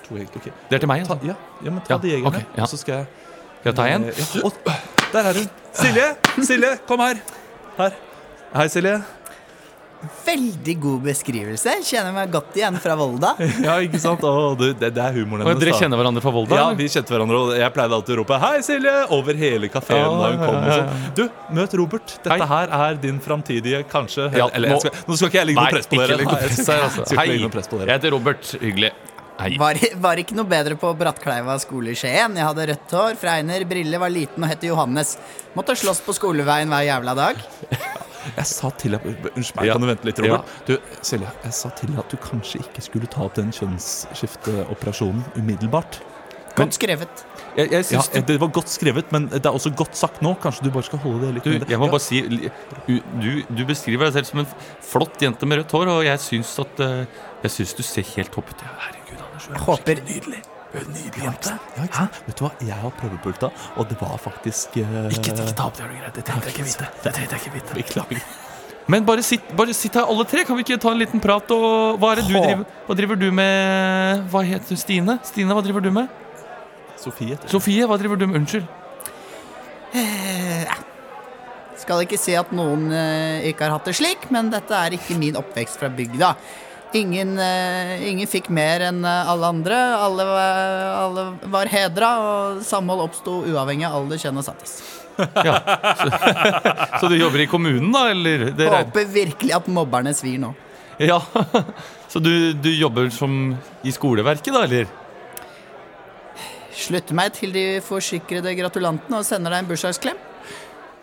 Speaker 1: to egg, ok.
Speaker 3: Det er til meg,
Speaker 1: Ta,
Speaker 3: altså.
Speaker 1: ja, ja, men ta
Speaker 3: Ja,
Speaker 1: de jegerne,
Speaker 3: ok, ja.
Speaker 1: og så skal jeg
Speaker 3: Skal jeg ta en?
Speaker 1: eh, ja, og- Der er hun. Silje! Silje, kom her. Her. Hei, Silje.
Speaker 2: Veldig god beskrivelse. Kjenner meg godt igjen fra Volda.
Speaker 1: Ja, ikke sant? Å, du, det, det er humoren
Speaker 3: Og
Speaker 1: hennes.
Speaker 3: Dere
Speaker 1: da.
Speaker 3: kjenner hverandre fra Volda?
Speaker 1: Ja,
Speaker 3: eller?
Speaker 1: vi kjente hverandre, og jeg pleide alltid å rope 'Hei, Silje!' over hele kafeen.
Speaker 3: Ja,
Speaker 1: da hun kom og
Speaker 3: ja, ja, ja.
Speaker 1: sånn. Du, møt Robert. Dette
Speaker 3: Hei.
Speaker 1: her er din framtidige kanskje
Speaker 3: Ja,
Speaker 1: Eller jeg
Speaker 3: nå-
Speaker 1: skal, nå skal ikke jeg legge noe
Speaker 3: Nei,
Speaker 1: press på dere.
Speaker 3: ikke legg noe
Speaker 1: Nei, jeg
Speaker 3: press
Speaker 1: skal-
Speaker 3: her,
Speaker 1: jeg
Speaker 3: altså.
Speaker 1: skal ikke
Speaker 3: Hei,
Speaker 1: legge noe press på dere.
Speaker 3: jeg heter Robert. Hyggelig. Hei.
Speaker 2: Var, var ikke noe bedre på Brattkleiva skole i Skien. Jeg hadde rødt hår, fregner, briller, var liten og het Johannes. Måtte slåss på skoleveien hver jævla dag.
Speaker 1: Jeg sa til deg Unnskyld meg,
Speaker 3: Ja.
Speaker 1: kan du vente litt, Robert? Du, Silje, jeg sa til deg at du kanskje ikke skulle ta opp den kjønnsskifteoperasjonen umiddelbart.
Speaker 2: Godt skrevet.
Speaker 3: Jeg,
Speaker 1: Ja,
Speaker 3: jeg syns du,
Speaker 1: det var godt skrevet, men det er også godt sagt nå. Kanskje du bare skal holde det litt
Speaker 3: du,
Speaker 1: under-
Speaker 3: jeg må
Speaker 1: Ja,
Speaker 3: bare si du, du- du beskriver deg selv som en flott jente med rødt hår, og jeg syns at eh, Jeg syns du ser helt topp ut. Ja, Herregud, Anders. du er-
Speaker 2: Håper
Speaker 1: Nydelig. Du er en Nydelig jente. Ja, ikke sant? Vet du hva, jeg har prøvepulta, og det var faktisk eh, Ikke, ta opp det, er det greit. Det trengte jeg ikke vite. Det trengte jeg ikke vite. Beklager.
Speaker 3: Men bare sitt, bare sitt her, alle tre. Kan vi ikke ta en liten prat? Og hva er det du
Speaker 2: Hå.
Speaker 3: driver Hva driver du med? Hva heter du? Stine? Stine, hva driver du med?
Speaker 1: Sofie. tror jeg.
Speaker 3: Sofie, hva driver du med? Unnskyld.
Speaker 2: Skal ikke si at noen eh, ikke har hatt det slik, men dette er ikke min oppvekst fra bygda. Ingen, eh, ingen fikk mer enn eh, alle andre. Alle, var- alle var hedra, og samhold oppsto uavhengig av alder, kjønn og status.
Speaker 3: Så du jobber i kommunen, da? Eller? Det regner-
Speaker 2: Håper virkelig at mobberne svir nå.
Speaker 3: Ja, Så du, du jobber som i skoleverket, da, eller?
Speaker 2: Slutter meg til de forsikrede gratulantene og sender deg en bursdagsklem.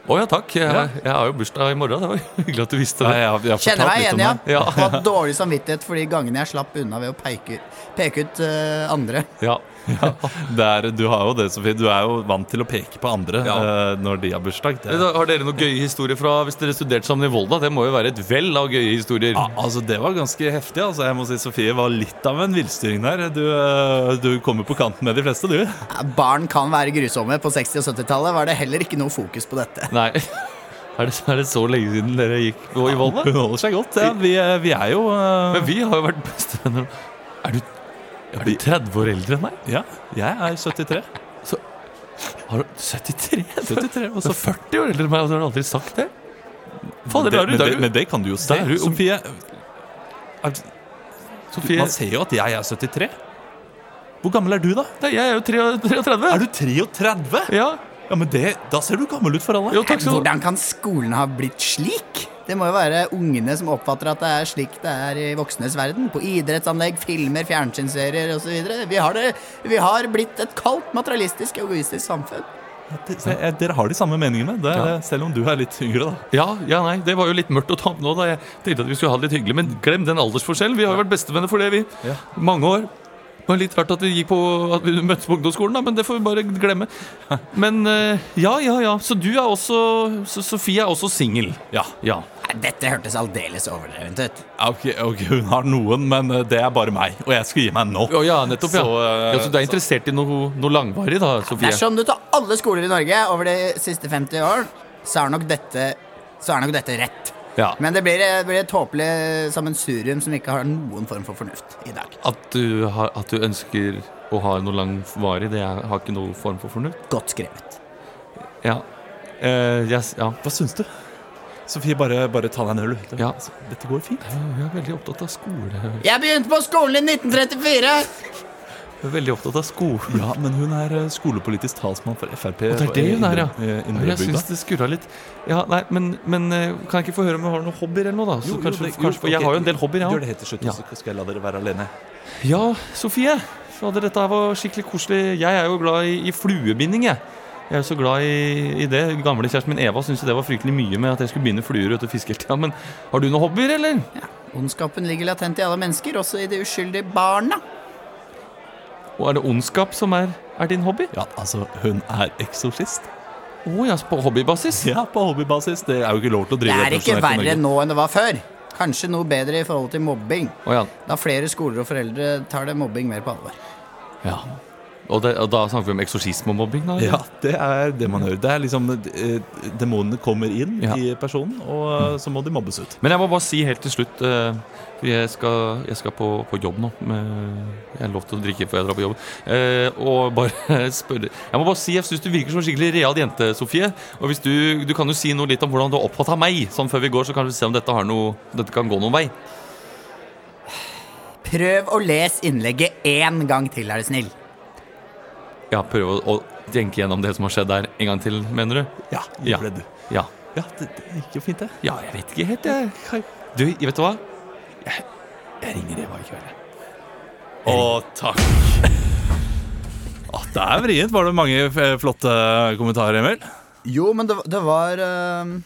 Speaker 3: Å ja, takk. Jeg, jeg har jo bursdag i morgen. Det var hyggelig at du visste
Speaker 1: Nei,
Speaker 3: det.
Speaker 1: jeg har- jeg har fortalt
Speaker 2: Kjenner meg
Speaker 1: litt om
Speaker 2: igjen, ja.
Speaker 1: det.
Speaker 3: Ja.
Speaker 2: Og har dårlig samvittighet for de gangene jeg slapp unna ved å peke, peke ut eh, andre.
Speaker 1: Ja, ja. Det er, du har jo det, Sofie. Du er jo vant til å peke på andre
Speaker 3: Ja.
Speaker 1: eh, når de har bursdag. Det,
Speaker 3: Da, har dere noen gøye historier fra hvis dere studerte sammen i Volda? Det må jo være et vell av gøye historier.
Speaker 1: ja, altså, det var ganske heftig. Altså. Jeg må si Sofie var litt av en villstyring der. Du, eh, du kommer på kanten med de fleste, du.
Speaker 2: Ja, Barn kan være grusomme. På 60- og 70-tallet var det heller ikke noe fokus på dette.
Speaker 3: Nei. Er det, er det så lenge siden dere gikk på i Volda?
Speaker 1: Hun holder seg godt. Ja. Vi, eh, vi er jo eh,
Speaker 3: Men vi har jo vært bestevenner. Er du, er du 30 år eldre enn meg?
Speaker 1: Ja, jeg er 73.
Speaker 3: Har du 73? 73 og så 40 år eldre enn meg, og så har du aldri sagt det? Fader, da er du-
Speaker 1: men,
Speaker 3: da er
Speaker 1: det,
Speaker 3: du-
Speaker 1: men det kan du jo
Speaker 3: da
Speaker 1: se.
Speaker 3: er du-
Speaker 1: Sofie,
Speaker 3: Sofie,
Speaker 1: man ser jo at jeg er 73. Hvor gammel er du, da?
Speaker 3: Nei, jeg er jo 33.
Speaker 1: Er du 33?
Speaker 3: Ja.
Speaker 1: Ja, men det, Da ser du gammel ut for alle.
Speaker 3: Jo, takk skal du ha.
Speaker 5: Hvordan kan skolen ha blitt slik? Det må jo være ungene som oppfatter at det er slik det er i voksnes verden. På idrettsanlegg, filmer, fjernsynsserier osv. Vi, har det- vi har blitt et kaldt, materialistisk, egoistisk samfunn.
Speaker 1: Det- se, eh, Dere har de samme meningene, det, er- selv om du er litt yngre. da
Speaker 3: Ja, ja, nei, det var jo litt mørkt å ta opp nå. da Jeg tenkte at vi skulle ha det litt hyggelig, men glem den aldersforskjellen. Vi har jo vært bestevenner for det, vi.
Speaker 1: Ja.
Speaker 3: Mange år. Det var litt rart at vi, gikk på, at vi møttes på ungdomsskolen, da, men det får vi bare glemme. Men eh, ja, ja, ja. Så du er også så Sofie er også singel.
Speaker 1: Ja.
Speaker 3: Ja.
Speaker 5: Nei, Dette hørtes aldeles overdrevent ut.
Speaker 1: Ja, Ok, ok, hun har noen, men eh, det er bare meg, og jeg skal gi meg nå.
Speaker 3: Å, ja, nettopp, ja.
Speaker 1: Så, eh,
Speaker 3: ja. Så du er interessert i noe, noe langvarig, da,
Speaker 5: Det
Speaker 3: Sofie?
Speaker 5: er sånn du tar alle skoler i Norge over de siste 50 år, så er nok dette, så er nok dette rett.
Speaker 3: Ja.
Speaker 5: Men det blir, eh, det blir et tåpelig sammensurium som ikke har noen form for fornuft i dag.
Speaker 3: At, du har, at du ønsker å ha noe langvarig, det er, har ikke noe form for fornuft?
Speaker 5: Godt skrevet.
Speaker 3: Ja. Eh, yes, ja.
Speaker 1: Hva syns du? Sofie, bare, bare ta deg en øl. Det-
Speaker 3: Ja.
Speaker 1: altså, Dette går fint.
Speaker 3: Jeg er veldig opptatt av skole.
Speaker 5: Jeg begynte på skolen i 1934!
Speaker 3: Jeg er veldig opptatt av skole.
Speaker 1: Ja, men hun er eh, skolepolitisk talsmann for Frp.
Speaker 3: Og det er det hun er, ja. Jeg
Speaker 1: eh, Indrebygda.
Speaker 3: syns det skurra litt. Ja, nei, men, men eh, kan jeg ikke få høre om du har noen hobbyer eller noe, da? Så kanskje, kanskje, for Jeg har jo en del hobbyer,
Speaker 1: Gjør
Speaker 3: jeg
Speaker 1: det
Speaker 3: ja.
Speaker 1: helt til slutt,
Speaker 3: Ja.
Speaker 1: og så skal jeg la dere være alene.
Speaker 3: ja, Sofie. Fader, dette her var skikkelig koselig. Jeg er jo glad i, i fluebinding, jeg. Jeg er jo så glad i, i det. Gamle kjæresten min Eva syntes jo det var fryktelig mye med at jeg skulle binde fluer ute og fiske hele tida. Men har du noen hobbyer, eller?
Speaker 5: Ondskapen ligger latent i alle mennesker, også i de uskyldige barna.
Speaker 3: Og er det ondskap som er, er din hobby?
Speaker 1: Ja, altså, hun er eksorsist.
Speaker 3: Å ja, på hobbybasis?
Speaker 1: Ja, på hobbybasis. Det er jo ikke lov til å
Speaker 5: Det
Speaker 1: drive
Speaker 5: er ikke
Speaker 1: profesjonelt i
Speaker 5: verre
Speaker 1: Norge.
Speaker 5: nå enn det var før. Kanskje noe bedre i forhold til mobbing.
Speaker 3: Å ja.
Speaker 5: Da flere skoler og foreldre tar det mobbing mer på alvor.
Speaker 3: ja. Og, det, og da snakker vi om eksorsisme og mobbing, da? eller?
Speaker 1: Ja, det er det man hører. Det er liksom eh, Demonene kommer inn
Speaker 3: Ja.
Speaker 1: i personen, og eh, så må de mobbes ut.
Speaker 3: Men jeg må bare si helt til slutt eh, for Jeg skal, jeg skal på, på jobb nå. med- Jeg har lov til å drikke før jeg drar på jobb. Eh, og bare spørre Jeg må bare si, jeg syns du virker som en skikkelig real jente, Sofie. Og hvis du, du kan jo si noe litt om hvordan du har oppfatta meg, sånn før vi går, så kan vi se om dette, har noe, dette kan gå noen vei.
Speaker 5: Prøv å lese innlegget én gang til, er du snill.
Speaker 3: Ja, prøve å, å tenke gjennom det som har skjedd der, en gang til, mener du?
Speaker 1: Ja,
Speaker 3: Ja.
Speaker 1: gjorde det du.
Speaker 3: Ja.
Speaker 1: Ja, det, det gikk jo fint, det.
Speaker 3: Ja, jeg vet ikke helt, jeg. Du, vet du hva?
Speaker 1: Jeg ringer Eva i kveld. Å, takk. Å, det er vrient. Var det mange eh, flotte kommentarer, Emil?
Speaker 5: Jo, men det, det var eh,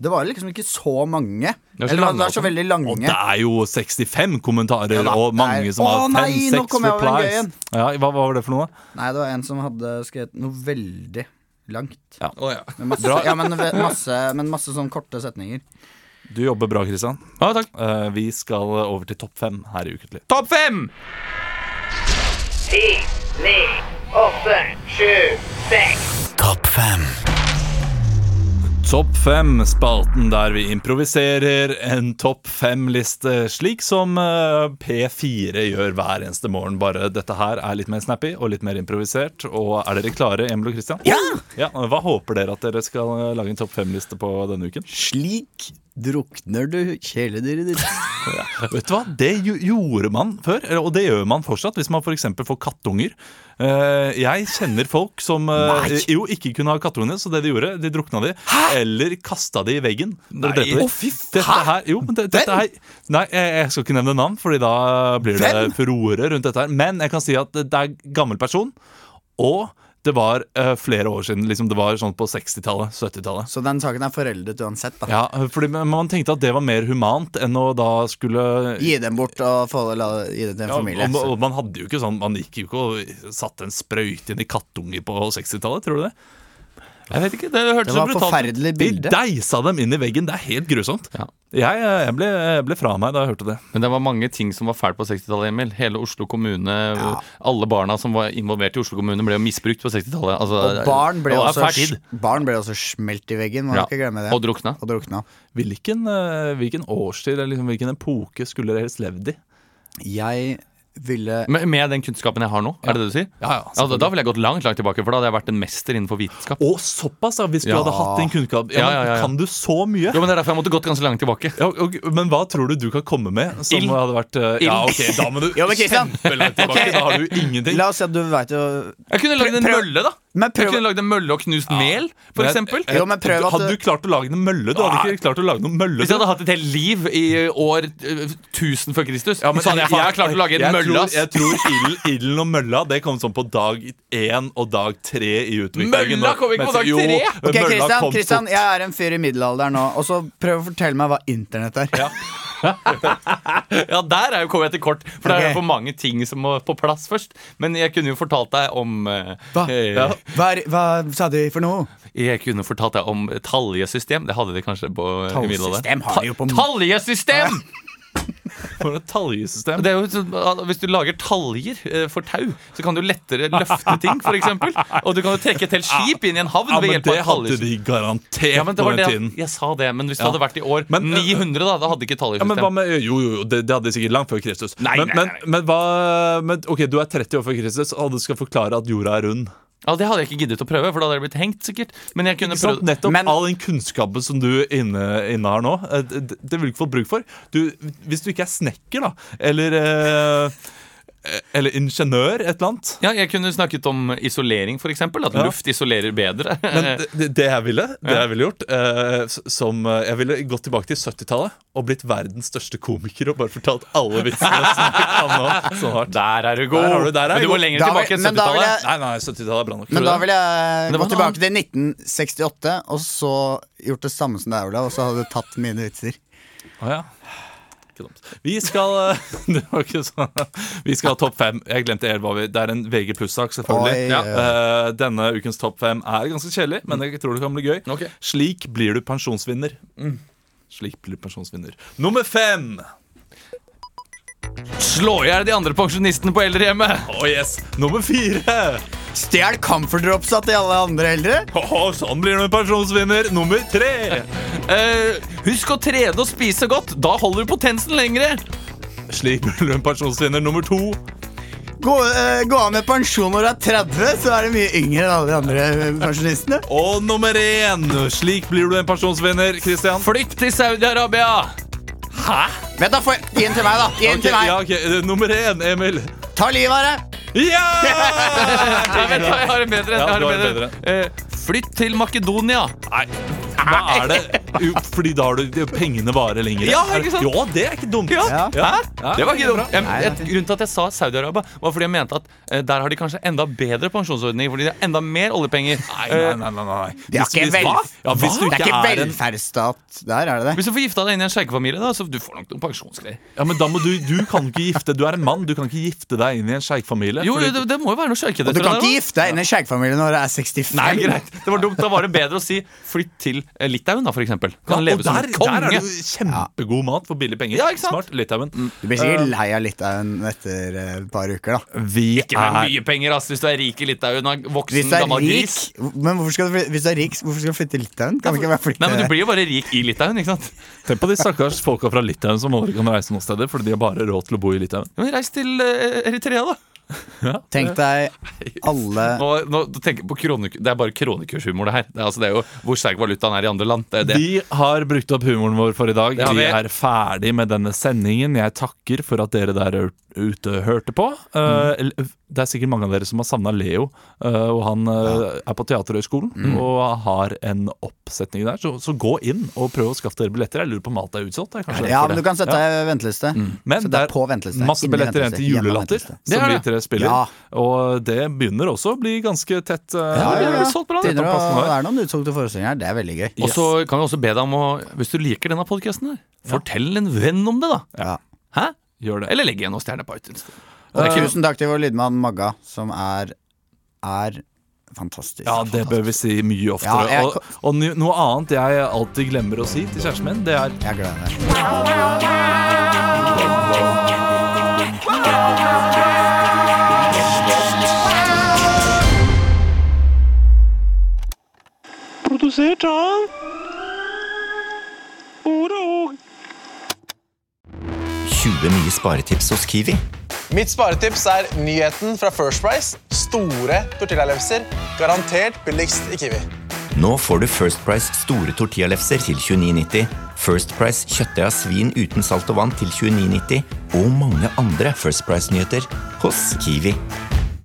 Speaker 5: Det var liksom ikke så mange.
Speaker 3: var så
Speaker 5: Eller,
Speaker 3: lange,
Speaker 5: det var så
Speaker 3: altså.
Speaker 5: veldig
Speaker 1: Og det
Speaker 5: lange.
Speaker 1: er jo 65 kommentarer
Speaker 5: Ja da,
Speaker 1: og mange
Speaker 5: det er-
Speaker 1: som har
Speaker 5: Å, nei, nå
Speaker 1: 5-6
Speaker 5: kom jeg over en gøy
Speaker 1: replies.
Speaker 5: en.
Speaker 1: Ja, hva, hva var det for noe?
Speaker 5: Nei, det var en som hadde skrevet noe veldig langt.
Speaker 1: Ja.
Speaker 5: Med masse, ja, men, ve- masse, men masse sånn korte setninger.
Speaker 1: Du jobber bra, Kristian.
Speaker 3: Ja, takk.
Speaker 1: Eh, vi skal over til topp fem her i Ukentlig.
Speaker 3: Topp fem!
Speaker 7: Ti, ni, åtte, sju, seks.
Speaker 1: Topp fem, spalten der vi improviserer en topp fem-liste, slik som eh, P4 gjør hver eneste morgen. Bare dette her er litt mer snappy og litt mer improvisert. Og er dere klare, Emil og Kristian? Ja! Hva håper dere at dere skal eh, lage en topp fem-liste på denne uken?
Speaker 5: Slik drukner du kjæledyret ditt.
Speaker 1: Vet du hva? Det gjo- gjorde man før, eller- og det gjør man fortsatt hvis man f.eks. får kattunger. Eh, Jeg kjenner folk som eh, jo ikke kunne ha kattungene, så det de gjorde, de drukna de. Eller kasta de i veggen. Nei,
Speaker 3: Å,
Speaker 1: fy dette her, jo, men det, dette her, Nei, jeg, jeg skal ikke nevne navn, Fordi da blir det furore rundt dette her. Men jeg kan si at det er gammel person, og det var eh, flere år siden. Liksom det var sånn på 60-tallet, 70-tallet.
Speaker 5: Så den saken er foreldet uansett, da.
Speaker 1: Ja, fordi man tenkte at det var mer humant enn å da skulle
Speaker 5: Gi dem bort og få, la, gi det til en
Speaker 1: Ja,
Speaker 5: familie.
Speaker 1: og,
Speaker 5: så-
Speaker 1: og man hadde jo ikke sånn Man gikk jo ikke og satte en sprøyte inn i kattunger på 60-tallet, tror du det?
Speaker 3: Jeg vet ikke, det hørtes
Speaker 5: Det
Speaker 3: så
Speaker 5: var
Speaker 3: brutalt ut.
Speaker 5: forferdelig
Speaker 1: De
Speaker 5: bilde.
Speaker 1: deisa dem inn i veggen. Det er helt grusomt.
Speaker 3: Ja.
Speaker 1: Jeg, eh, jeg, ble, jeg ble fra meg da jeg hørte det.
Speaker 3: Men det var mange ting som var fælt på 60-tallet, Emil. Hele Oslo kommune, alle barna som var involvert i Oslo kommune, ble jo misbrukt på 60-tallet. Altså,
Speaker 5: Og barn ble,
Speaker 3: det var
Speaker 5: også,
Speaker 3: fæl tid.
Speaker 5: sj- barn ble også smelt i veggen, må
Speaker 3: Ja,
Speaker 5: du ikke glemme det.
Speaker 3: og drukna.
Speaker 5: Og drukna.
Speaker 1: Hvilken, eh, hvilken årstid eller liksom, hvilken epoke skulle dere helst levd i?
Speaker 5: Jeg
Speaker 2: ville
Speaker 3: Med, med den kunnskapen jeg har nå, er det det du sier? Altså,
Speaker 1: Ja, ja,
Speaker 3: da- da ville jeg gått langt langt tilbake, for da hadde jeg vært en mester innenfor vitenskap.
Speaker 1: Å, såpass, ja. Hvis du
Speaker 3: Ja.
Speaker 1: hadde hatt din kunnskap. Ja,
Speaker 3: Ja,
Speaker 1: men
Speaker 3: ja, ja, ja.
Speaker 1: Kan du så mye?
Speaker 3: Jo, men Det er derfor jeg måtte gått ganske langt tilbake.
Speaker 1: Ja, og, men hva tror du du kan komme med som
Speaker 3: Ild.
Speaker 1: hadde vært eh, Ja, ok, da må du
Speaker 2: Jo, men Christian.
Speaker 1: kjempelangt tilbake. Da har du ingenting.
Speaker 2: La oss si at du veit jo
Speaker 3: Jeg kunne lagd en
Speaker 2: Prøv-
Speaker 3: mølle, da.
Speaker 2: Men
Speaker 3: Jeg
Speaker 2: prøv
Speaker 3: kunne lagd en mølle og knust mel, for
Speaker 1: Men-
Speaker 3: eksempel.
Speaker 2: Jo, men prøv at
Speaker 1: Hadde du
Speaker 2: du-
Speaker 1: klart å lage en mølle? Du hadde ikke klart å lage noen mølle.
Speaker 3: Hvis jeg hadde hatt et helt liv i eh, år eh, 1000 før Kristus, så hadde jeg, faen meg klart å lage en
Speaker 1: jeg
Speaker 3: mølle.
Speaker 1: Tror,
Speaker 3: ass.
Speaker 1: jeg tror ilden ilden og mølla Det kom sånn på dag én og dag tre i utviklingen.
Speaker 3: Mølla kom ikke på dag
Speaker 1: Jo,
Speaker 3: tre?
Speaker 2: Ok,
Speaker 1: mølla
Speaker 2: Christian,
Speaker 1: kom
Speaker 2: Christian,
Speaker 1: fort.
Speaker 2: jeg er en fyr i middelalderen nå, og så prøv å fortelle meg hva internett er.
Speaker 3: Ja, der er jo kommet jeg til kort, for det er
Speaker 2: Ok.
Speaker 3: jo for mange ting som må på plass først. Men jeg kunne jo fortalt deg om eh,
Speaker 2: Hva?
Speaker 3: eh,
Speaker 2: Hva, er, hva sa de for noe?
Speaker 3: Jeg kunne fortalt deg om taljesystem. Det hadde de kanskje på eh, i middelalderen.
Speaker 2: Tallsystem har de jo på Ah.
Speaker 3: Ta- Taljesystem!
Speaker 1: For et taljesystem.
Speaker 3: Det er jo sånn, at Hvis du lager taljer eh, for tau, så kan du lettere løfte ting, f.eks. Og du kan jo trekke et helt skip inn i en havn
Speaker 1: ja,
Speaker 3: ved
Speaker 1: men
Speaker 3: hjelp
Speaker 1: det
Speaker 3: av
Speaker 1: hadde
Speaker 3: taljesystem.
Speaker 1: de garantert
Speaker 3: Ja, men det
Speaker 1: på
Speaker 3: var
Speaker 1: den
Speaker 3: det
Speaker 1: tiden.
Speaker 3: at jeg sa det, men hvis det
Speaker 1: Ja.
Speaker 3: hadde vært i år
Speaker 1: Men, eh,
Speaker 3: 900, da, da hadde ikke
Speaker 1: Ja, men hva
Speaker 3: taljesystem.
Speaker 1: med, jo, jo, jo det, det hadde de sikkert langt før Kristus.
Speaker 3: Nei,
Speaker 1: men,
Speaker 3: nei,
Speaker 1: men,
Speaker 3: nei, nei.
Speaker 1: men hva men, Ok, du er 30 år før Kristus, og du skal forklare at jorda er rund.
Speaker 3: Ja, det hadde jeg ikke giddet å prøve, for da hadde jeg blitt hengt, sikkert. Men jeg kunne
Speaker 1: Ikke sant?
Speaker 3: prøvd-
Speaker 1: Nettopp
Speaker 2: Men-
Speaker 1: All den kunnskapen som du inne, inne har nå, eh, det, det vil du ikke få bruk for. Du, hvis du ikke er snekker, da, eller eh, Eller ingeniør, et eller annet.
Speaker 3: Ja, jeg kunne snakket om isolering, for eksempel. At
Speaker 1: Ja.
Speaker 3: luft isolerer bedre.
Speaker 1: Men eh, det, det jeg ville, det jeg ville gjort eh, s- som, eh, Jeg ville gått tilbake til 70-tallet og blitt verdens største komiker og bare fortalt alle vitsene som jeg kan nå. ah, Så hardt.
Speaker 3: der er du god!
Speaker 1: Der har du- der er
Speaker 3: men
Speaker 1: du
Speaker 3: du må
Speaker 1: god.
Speaker 3: lenger
Speaker 2: Da vil-
Speaker 3: tilbake enn
Speaker 2: men da vil
Speaker 3: 70-tallet.
Speaker 2: jeg-
Speaker 1: Nei, nei, 70-tallet er bra nok.
Speaker 2: Men da
Speaker 1: Tror du det?
Speaker 2: ville jeg
Speaker 3: det var
Speaker 2: gå
Speaker 3: noe
Speaker 2: tilbake til 1968, og så gjort det samme som deg, Olav, og så hadde du tatt mine vitser.
Speaker 1: Å, ja. Ikke dumt. Vi skal eh, Det var ikke sånn Vi skal ha topp fem. Jeg glemte helt hva vi Det er en VG pluss-sak, selvfølgelig.
Speaker 2: Oi,
Speaker 1: ja.
Speaker 2: ja.
Speaker 1: Eh, denne ukens topp fem er ganske kjedelig, men jeg tror det kan bli gøy.
Speaker 3: Ok.
Speaker 1: Slik blir du pensjonsvinner. Slik blir du pensjonsvinner. Nummer fem.
Speaker 3: Slå i hjel de andre pensjonistene på eldrehjemmet!
Speaker 1: Oh yes. Nummer fire.
Speaker 2: Stjel comfort dropsa til alle andre eldre!
Speaker 1: Åh, sånn blir du en pensjonsvinner. Nummer tre.
Speaker 3: Eh, husk å trene og spise godt! Da holder du potensen lengre!
Speaker 1: Slik blir du en pensjonsvinner. Nummer to.
Speaker 2: Gå, eh, gå av med pensjon når du er 30, så er du mye yngre enn alle de andre eh, pensjonistene.
Speaker 1: Og nummer én. Slik blir du en pensjonsvinner, Christian.
Speaker 3: Flytt til Saudi-Arabia!
Speaker 2: Vent, da, får jeg- Gi den til meg, da. Gi den
Speaker 1: Ok,
Speaker 2: til
Speaker 1: ja,
Speaker 2: meg.
Speaker 1: ok, eh, Nummer én, Emil.
Speaker 2: Ta livet av deg.
Speaker 1: Ja!
Speaker 3: Nei, vent, jeg har en
Speaker 1: Ja,
Speaker 3: bedre. Jeg har
Speaker 1: du
Speaker 3: en
Speaker 1: har en
Speaker 3: bedre. Eh, flytt til Makedonia!
Speaker 1: Hva er det? Jo, Fordi da har du de- pengene varer lenger.
Speaker 3: Ja, ikke sant?
Speaker 1: Er- Ja, det er ikke dumt.
Speaker 3: Ja. Hæ?
Speaker 1: Ja.
Speaker 3: Det var ikke dumt. Jeg, jeg, grunnen til at jeg sa Saudi-Arabia, var fordi jeg mente at eh, der har de kanskje enda bedre pensjonsordninger, fordi de har enda mer oljepenger.
Speaker 1: Nei, nei, nei, nei, nei.
Speaker 2: Det er
Speaker 1: Hvis-
Speaker 2: ikke,
Speaker 1: hvis-
Speaker 2: vel...
Speaker 1: Hva? Ja, hvis du
Speaker 2: det er ikke
Speaker 1: er en
Speaker 2: velferdsstat der, er det det?
Speaker 3: Hvis du får gifta deg inn i en sjeikefamilie, da, så du får nok noen pensjonsgreier.
Speaker 1: Ja, men da må du, du kan ikke gifte Du er en mann, du kan ikke gifte deg inn i en sjeikfamilie.
Speaker 3: Jo,
Speaker 1: fordi-
Speaker 3: jo, det, det må jo være noe sjeikete.
Speaker 2: Og du kan ikke gifte deg inn i en skjeggfamilie når du er 65.
Speaker 3: Nei, greit. Det var dumt. Da var det bedre å si flytt til eh, Litauen, da, for eksempel. Kan
Speaker 1: ja,
Speaker 3: leve
Speaker 1: og
Speaker 3: som
Speaker 1: der,
Speaker 3: en
Speaker 1: der er det
Speaker 3: konge.
Speaker 1: jo kjempegod mat for billige penger.
Speaker 3: Ja, ikke sant?
Speaker 1: Smart. Litauen.
Speaker 2: Du blir sikkert lei av Litauen etter eh, et par uker, da.
Speaker 1: Vi
Speaker 3: Ikke med
Speaker 1: er
Speaker 3: mye penger, ass, hvis du er rik i Litauen. og er Voksen,
Speaker 2: Hvis du er
Speaker 3: gammel
Speaker 2: rik,
Speaker 3: gris.
Speaker 2: men hvorfor skal du, fly- hvis du er rik, hvorfor skal du flytte til Litauen? Kan du ikke bare flytte
Speaker 3: Nei, men Du blir jo bare rik i Litauen, ikke sant?
Speaker 1: Tenk på de stakkars folka fra Litauen som aldri kan reise noen steder, fordi de har bare råd til å bo i Litauen.
Speaker 3: Ja, Men Reis til eh, Eritrea, da.
Speaker 2: Tenk deg alle
Speaker 3: Nå, nå tenker jeg på kronek Det er bare kronekurshumor, det her. Det er, altså, det er jo hvor sterk valutaen er i andre land. Det er det.
Speaker 1: Vi har brukt opp humoren vår for i dag.
Speaker 3: Det har
Speaker 1: vi.
Speaker 3: vi.
Speaker 1: er ferdig med denne sendingen. Jeg takker for at dere der ute hørte på. Eh,
Speaker 3: Mm.
Speaker 1: l- Det er sikkert mange av dere som har savna Leo, eh, og han eh, er på Teaterhøgskolen
Speaker 3: Mm.
Speaker 1: og har en oppsetning der. Så, så gå inn og prøv å skaffe dere billetter. Jeg lurer på om alt er utsolgt. det er kanskje
Speaker 2: Ja,
Speaker 1: derfor
Speaker 2: men du
Speaker 1: det. Mm.
Speaker 2: kan sette deg i venteliste.
Speaker 1: Men
Speaker 2: Så
Speaker 1: det er
Speaker 2: på venteliste.
Speaker 1: masse
Speaker 2: Inni
Speaker 1: billetter igjen
Speaker 2: venteliste.
Speaker 1: til
Speaker 2: Hjemme
Speaker 1: julelatter,
Speaker 2: venteliste.
Speaker 1: som vi
Speaker 3: er det.
Speaker 1: tre spiller.
Speaker 2: Ja.
Speaker 1: Og det begynner også å bli ganske tett. eh,
Speaker 2: Ja, ja, ja.
Speaker 1: solgt bra.
Speaker 2: Begynner å
Speaker 1: Passen her.
Speaker 2: være noen utsolgte forestillinger. Det er veldig gøy.
Speaker 3: Og så kan vi også be deg om å Hvis du liker denne podkasten, fortell en venn om det, da.
Speaker 2: Ja.
Speaker 3: Hæ?
Speaker 1: Gjør det.
Speaker 3: Eller legg igjen noen stjerner på iTunes.
Speaker 2: Og tusen takk til vår lydmann Magga, som er er fantastisk.
Speaker 1: Ja, det bør vi si mye oftere.
Speaker 2: Ja, jeg-
Speaker 1: Og, og ny- noe annet jeg alltid glemmer å si til kjæresten min, det er
Speaker 2: Jeg gleder meg.
Speaker 8: Mitt sparetips er nyheten fra First Price. Store tortillalefser. Garantert billigst i Kiwi.
Speaker 9: Nå får du First Price store tortillalefser til 29,90, First Price kjøttdeig av svin uten salt og vann til 29,90 og mange andre First Price-nyheter hos Kiwi.